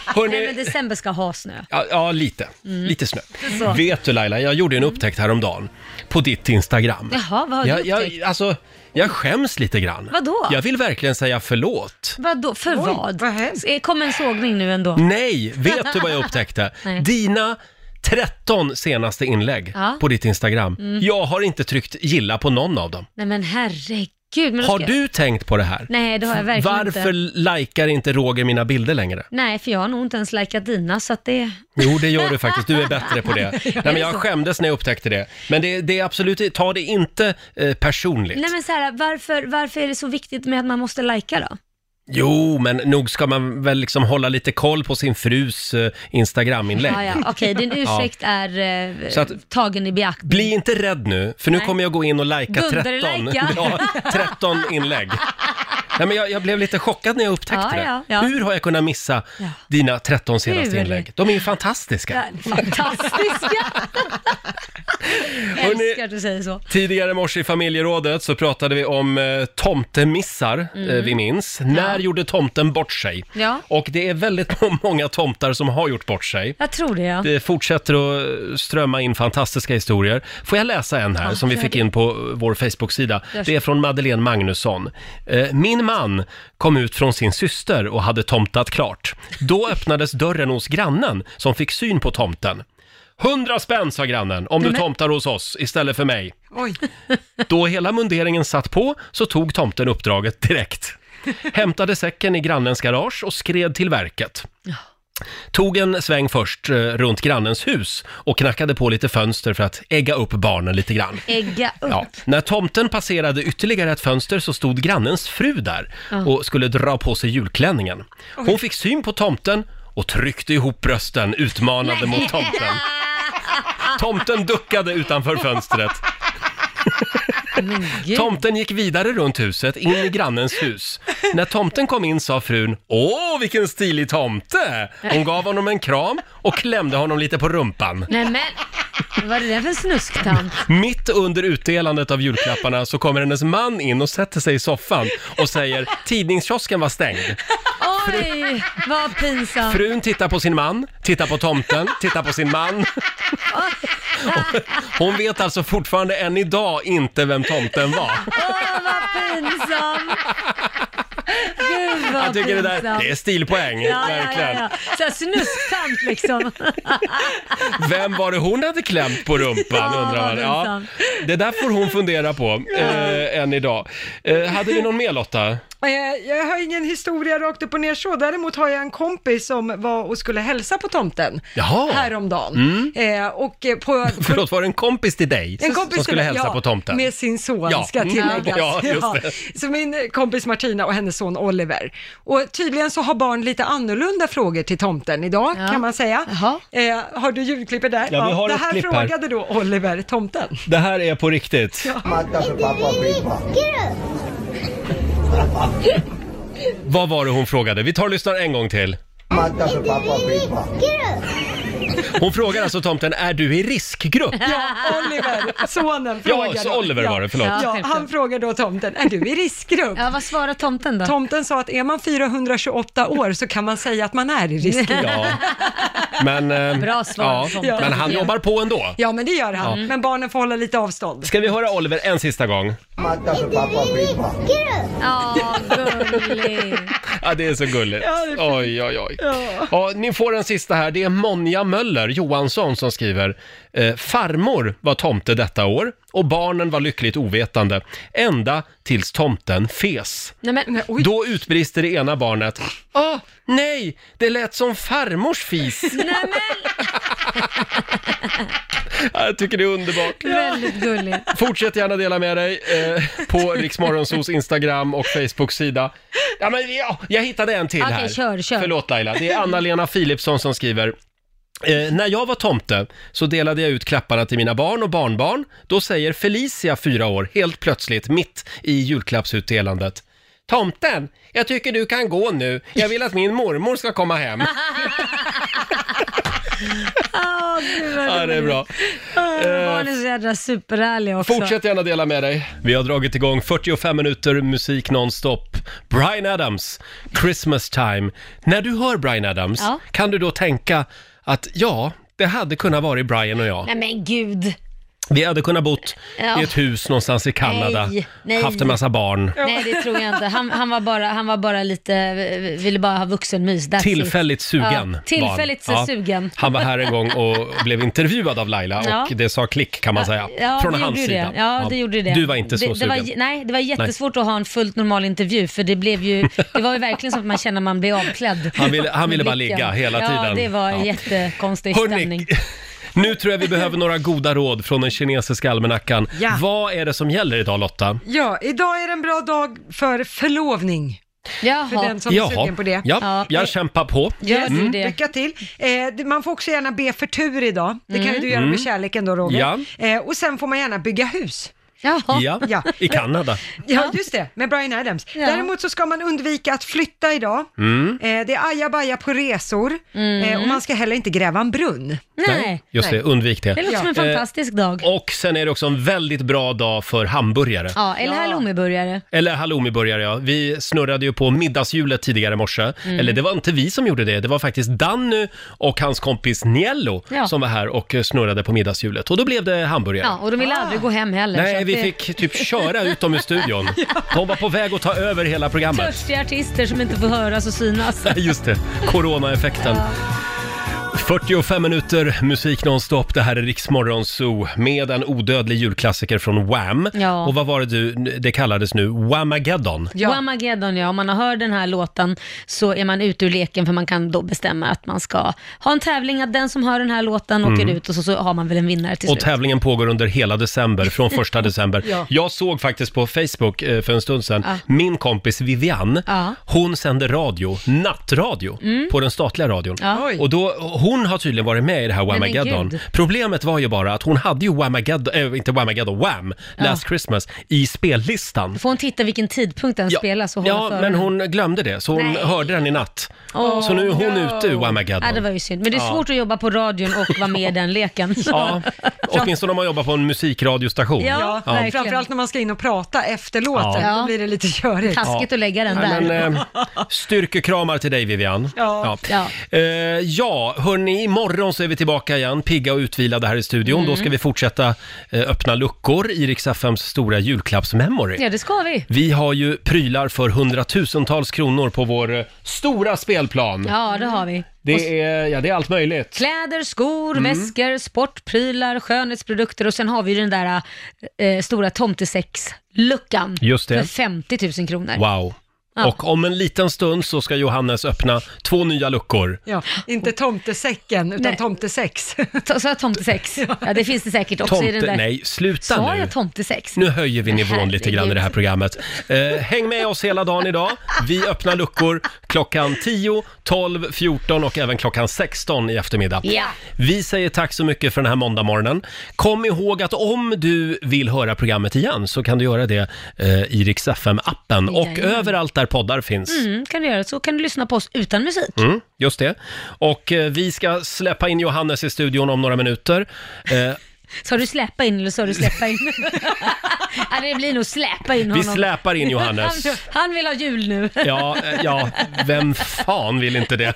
S1: Hörrni-
S4: Nej, men december ska ha snö.
S1: Ja, ja lite. Lite snö.
S4: Lite så.
S1: Vet du Laila, jag gjorde en upptäckt häromdagen på ditt Instagram.
S4: Jaha, vad har
S1: jag,
S4: du
S1: jag,
S4: upptäckt?
S1: alltså, jag skäms lite grann.
S4: Vadå?
S1: Jag vill verkligen säga förlåt.
S4: Vadå, för
S2: Oj,
S4: vad? vad Kom en sågning nu ändå.
S1: Nej, vet du vad jag upptäckte?
S4: Nej.
S1: Dina 13 senaste inlägg
S4: Ja.
S1: på ditt Instagram.
S4: Mm.
S1: Jag har inte tryckt gilla på någon av dem.
S4: Nej men herregud. Men då
S1: Har
S4: ska-
S1: du tänkt på det här?
S4: Nej, det har jag verkligen
S1: Varför
S4: inte.
S1: likar inte Roger mina bilder längre?
S4: Nej, för jag har nog inte ens likat dina, så att det...
S1: Jo, det gör du faktiskt. Du är bättre på det. Nej, men jag skämdes när jag upptäckte det. Men det, det är absolut, ta det inte eh, personligt.
S4: Nej men så här, varför, varför är det så viktigt med att man måste lika då?
S1: Jo, men nog ska man väl liksom hålla lite koll på sin frus eh, Instagram-inlägg.
S4: Ja, ja, okej, din ursäkt är eh,
S1: Så att-
S4: tagen i beaktning.
S1: Bli inte rädd nu, för nu
S4: Nej.
S1: kommer jag gå in och lajka 13,
S4: Dunderlajka.
S1: ja, 13 inlägg. Nej, men jag, jag blev lite chockad när jag upptäckte
S4: Ja,
S1: det.
S4: ja, ja.
S1: Hur har jag kunnat missa
S4: Ja.
S1: dina 13 senaste
S4: Hur?
S1: inlägg? De är ju fantastiska.
S4: Ja, Fantastiska!
S1: Hörrni-
S4: Älskar att du säger så.
S1: Tidigare i morse i familjerådet så pratade vi om eh, tomtemissar,
S4: Mm.
S1: eh, vi minns. När gjorde tomten bort sig?
S4: Ja,
S1: Och det är väldigt många tomtar som har gjort bort sig.
S4: jag tror det ja.
S1: Det fortsätter att strömma in fantastiska historier. Får jag läsa en här
S4: Ja,
S1: som vi
S4: gör
S1: fick
S4: det.
S1: in på vår Facebook-sida?
S4: Gör så.
S1: Det är från Madeleine Magnusson. Eh, Min man kom ut från sin syster och hade tomtat klart. Då öppnades dörren hos grannen som fick syn på tomten. Hundra spänn, sa grannen, om
S4: Nej,
S1: du
S4: men-
S1: tomtar hos oss istället för mig.
S2: Oj.
S1: Då hela munderingen satt på så tog tomten uppdraget direkt. Hämtade säcken i grannens garage och skred till verket. Tog en sväng först eh, runt grannens hus och knackade på lite fönster för att ägga upp barnen lite grann.
S4: Ägga upp.
S1: Ja. När tomten passerade ytterligare ett fönster så stod grannens fru där
S4: Ja.
S1: och skulle dra på sig julklänningen. Hon fick syn på tomten och tryckte ihop brösten utmanande mot tomten. Tomten duckade utanför fönstret. Tomten gick vidare runt huset, in i grannens hus. När tomten kom in sa frun “Åh, vilken stilig tomte!” Hon gav honom en kram och klämde honom lite på rumpan.
S4: Nej men, vad är det där för snusktant?
S1: Mitt under utdelandet av julklapparna så kommer hennes man in och sätter sig i soffan och säger “Tidningskiosken var stängd”.
S4: Oj, vad pinsamt.
S1: Frun tittar på sin man, tittar på tomten, tittar på sin man. Hon vet alltså fortfarande än idag inte vem tomten var.
S4: Åh, vad pinsamt. Gud
S1: Jag tycker det där,
S4: pinsamt.
S1: det är stilpoäng,
S4: Ja, ja,
S1: verkligen.
S4: ja, ja. Såhär snusktant liksom.
S1: Vem var det hon hade klämt på rumpan
S4: Ja,
S1: undrar man.
S4: vad
S1: Ja,
S4: pinsamt.
S1: det där får hon fundera på eh, än idag. Eh, hade vi någon mer Lotta?
S2: Eh, Jag har ingen historia rakt upp och ner så, däremot har jag en kompis som var och skulle hälsa på tomten
S1: Jaha.
S2: häromdagen.
S1: Mm.
S2: Eh, och eh, på,
S1: Förlåt, var det en kompis till dig
S2: En kompis
S1: som skulle
S2: till-
S1: hälsa
S2: ja,
S1: på tomten?
S2: Med sin son
S1: Ja.
S2: ska
S1: Mm.
S2: tilläggas.
S1: Ja, just det.
S2: Så min eh, kompis Martina och hennes son Oliver. Och tydligen så har barn lite annorlunda frågor till tomten idag kan man säga. Eh, har du ljudklippet där?
S1: Ja, vi har
S2: det
S1: ett
S2: här
S1: klipp här.
S2: frågade då Oliver tomten.
S1: Det här är på riktigt. Vad var det hon frågade? Vi tar och lyssnar en gång till. Hon frågar alltså tomten, är du i riskgrupp?
S2: Ja, Oliver, sonen frågar.
S1: Ja, så
S2: då.
S1: Oliver var det, förlåt. Ja,
S2: Ja, han
S1: självklart.
S2: frågar då tomten, är du i riskgrupp?
S4: Ja, vad svarar tomten då?
S2: Tomten sa att är man 428 år så kan man säga att man är i riskgrupp.
S1: Ja. Men, eh,
S2: Bra svar, tomten.
S1: ja, men han jobbar på ändå.
S2: Ja, men det gör han.
S1: Ja.
S2: Men barnen får hålla lite avstånd.
S1: Ska vi höra Oliver en sista gång?
S4: Ja, gullig.
S1: Ja, det är så gulligt.
S4: Ja, det är fint.
S1: Oj, oj, oj.
S4: Ja.
S1: Ja, ni får den sista här. Det är Monja Möller Johansson som skriver. Eh, farmor var tomte detta år och barnen var lyckligt ovetande. Ända tills tomten fes.
S4: Nej, men,
S1: Då utbrister det ena barnet.
S4: Ah.
S1: Åh, nej! Det lät som farmors fis. Ja, Jag tycker det är underbart.
S4: Väldigt gullig.
S1: Fortsätt gärna dela med dig eh, på Riksmorgonsos Instagram och Facebook-sida. Ja, men ja, jag hittade en till
S4: Okej,
S1: här.
S4: kör, kör.
S1: Förlåt Laila. Det är Anna-Lena Philipsson som skriver. Eh, när jag var tomte så delade jag ut klapparna till mina barn och barnbarn. Då säger Felicia, fyra år, helt plötsligt mitt i julklappsutdelandet. Tomten, jag tycker du kan gå nu. Jag vill att min mormor ska komma hem.
S4: Åh, gud, vad
S1: Ja, det är
S4: roligt.
S1: bra.
S4: Åh,
S1: Eh,
S4: Barnen är så jädra superärliga också.
S1: Fortsätt gärna dela med dig. Vi har dragit igång 45 minuter musik nonstop. Brian Adams, Christmas time. När du hör Brian Adams,
S4: Ja.
S1: kan du då tänka att ja, det hade kunnat vara Brian och jag.
S4: Nej men gud.
S1: Vi hade kunnat bott
S4: Ja.
S1: i ett hus någonstans i Kanada,
S4: Nej, nej.
S1: haft en massa barn.
S4: Nej det tror jag inte. Han, han, var bara, han var bara lite, eh, ville bara ha vuxenmys. That's it.
S1: Tillfälligt sugen.
S4: Ja, tillfälligt
S1: var han. Ja.
S4: sugen.
S1: Han var här en gång och blev intervjuad av Laila och
S4: Ja.
S1: det sa klick kan man säga.
S4: Ja,
S1: Från
S4: det
S1: hans
S4: gjorde
S1: sida.
S4: Det. Ja, det gjorde det.
S1: Du var inte så
S4: det, det
S1: sugen.
S4: var, Nej, det var jättesvårt att ha en fullt normal intervju för det blev ju, det var ju verkligen som att man känner att man blir avklädd.
S1: Han ville- han
S4: Med
S1: ville bara
S4: blicken.
S1: ligga hela
S4: Ja,
S1: tiden.
S4: det var
S1: Ja.
S4: en jättekonstig
S1: Hörrni,
S4: stämning.
S1: Nu tror jag vi behöver några goda råd från den kinesiska almanackan.
S2: Ja.
S1: Vad är det som gäller idag Lotta?
S2: Ja, idag är en bra dag för förlovning. För den som är sugen på det.
S1: Ja, jag kämpar på.
S2: Yes,
S1: Mm.
S2: Lycka till. Eh, det- man får också gärna be för tur idag. Det kan ju du göra
S1: Mm.
S2: med kärleken då Roger.
S1: Ja.
S2: Eh, och sen får man gärna bygga hus.
S1: Ja, i Kanada.
S2: Ja, just det, med Brian Adams. Däremot så ska man undvika att flytta idag.
S1: Mm.
S2: Eh, det är ajabaja på resor eh, och man ska heller inte gräva en brunn.
S1: Just det, undvik det.
S4: Det låter som en
S1: Ja. Eh,
S4: fantastisk dag.
S1: Och sen är det också en väldigt bra dag för hamburgare.
S4: Ja, eller halloumiburgare.
S1: Eller halloumiburgare, ja. Vi snurrade ju på middagshjulet tidigare i morse.
S4: Mm.
S1: Eller det var inte vi som gjorde det, det var faktiskt Danny och hans kompis Niello
S4: Ja.
S1: som var här och snurrade på middagshjulet. Och då blev det hamburgare.
S4: Ja, och de ville aldrig gå hem heller. så
S1: Ah. Nej,
S4: att
S1: vi
S4: det-
S1: fick typ köra ut dem ur studion. De var på väg att ta över hela programmet.
S4: Törstiga artister som inte får höras och synas.
S1: Just det, coronaeffekten. 45 minuter musik nonstop. Det här är Riksmorgon Zoo med en odödlig julklassiker från Wham.
S4: Ja.
S1: Och vad var det du, det kallades nu? Whamageddon.
S4: Ja. Whamageddon, ja. Om man har hört den här låten så är man ute ur leken för man kan då bestämma att man ska ha en tävling, att den som hör den här låten åker
S1: Mm.
S4: ut och så, så har man väl en vinnare till
S1: Och
S4: slut.
S1: tävlingen pågår under hela december, från första december.
S4: Ja.
S1: Jag såg faktiskt på Facebook eh, för en stund sedan,
S4: Ja.
S1: min kompis Vivian,
S4: Ja.
S1: hon sände radio, nattradio,
S4: Mm.
S1: på den statliga radion.
S4: Ja. Oj.
S1: Och då, hon har tydligen varit med i det här
S4: Nej, men
S1: Whamageddon.
S4: gud.
S1: Problemet var ju bara att hon hade ju Whamageddon, äh, inte Whamageddon, Wham, Last Christmas, i spellistan.
S4: Får hon titta vilken tidpunkt den spelas och hålla
S1: Ja,
S4: för
S1: men
S4: den?
S1: hon glömde det, så hon
S4: Nej.
S1: hörde den i natt.
S4: Åh,
S1: så nu är hon
S4: no.
S1: ute ur Whamageddon.
S4: Ja, det var ju synd. Men det är
S1: Ja.
S4: svårt att jobba på radion och vara med i den leken.
S1: Ja, åtminstone om man jobbar på en musikradiostation.
S2: Ja, framförallt när man ska in och prata efter låten,
S1: Ja.
S2: då blir det lite körigt.
S1: Taskigt Ja. att lägga
S4: den
S1: Nej, Men, eh, styrkekramar till dig Vivian.
S2: Ja.
S1: Ja. Eh, ja, hörni, Hörni, imorgon så är vi tillbaka igen, pigga och utvilade här i studion.
S4: Mm.
S1: Då ska vi fortsätta eh, öppna luckor i Rix FMs stora julklappsmemory.
S4: Ja, det ska vi.
S1: Vi har ju prylar för hundratusentals kronor på vår eh, stora spelplan.
S4: Ja, det har vi. Och s-
S1: Det är, ja, det är allt möjligt.
S4: Kläder, skor,
S1: Mm.
S4: väskor, sportprylar, skönhetsprodukter och sen har vi ju den där eh, stora tomtesäcksluckan.
S1: Just det.
S4: För 50 000 kronor.
S1: Wow.
S4: Ja.
S1: Och om en liten stund så ska Johannes öppna två nya luckor.
S2: Ja, inte tomtesäcken, utan tomtesex.
S4: Sa jag tomtesex? Ja, det finns det säkert också i den
S1: Tomte,
S4: där.
S1: nej, sluta
S4: Sa
S1: nu.
S4: jag tomtesex?
S1: Nu höjer vi nivån lite grann i det här
S4: Herregud.
S1: programmet. Eh, häng med oss hela dagen idag. Vi öppnar luckor klockan 10, 12, 14 och även klockan 16 i eftermiddag.
S10: Ja.
S1: Vi säger tack så mycket för den här måndagmorgonen. Kom ihåg att om du vill höra programmet igen så kan du göra det eh, i Rix FM-appen och
S4: Jajamän.
S1: överallt där poddar finns.
S4: Mm, kan du göra. Så kan du lyssna på oss utan musik.
S1: Mm, just det. Och eh, vi ska släppa in Johannes i studion om några minuter. Eh,
S4: Sa du släppa in eller sa du släppa in? Nej, det blir nog släppa in
S1: Vi
S4: honom.
S1: släpar in Johannes.
S4: Han, han vill ha jul nu.
S1: ja, eh, ja, vem fan vill inte det?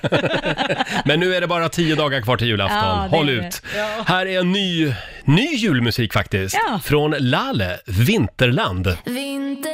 S1: Men nu är det bara tio dagar kvar till
S10: Ja,
S1: julafton.
S10: det
S1: Håll
S10: är det.
S1: ut.
S10: Ja.
S1: Här är en ny, ny julmusik faktiskt.
S10: Ja.
S1: Från Lale, Vinterland.
S9: Vinter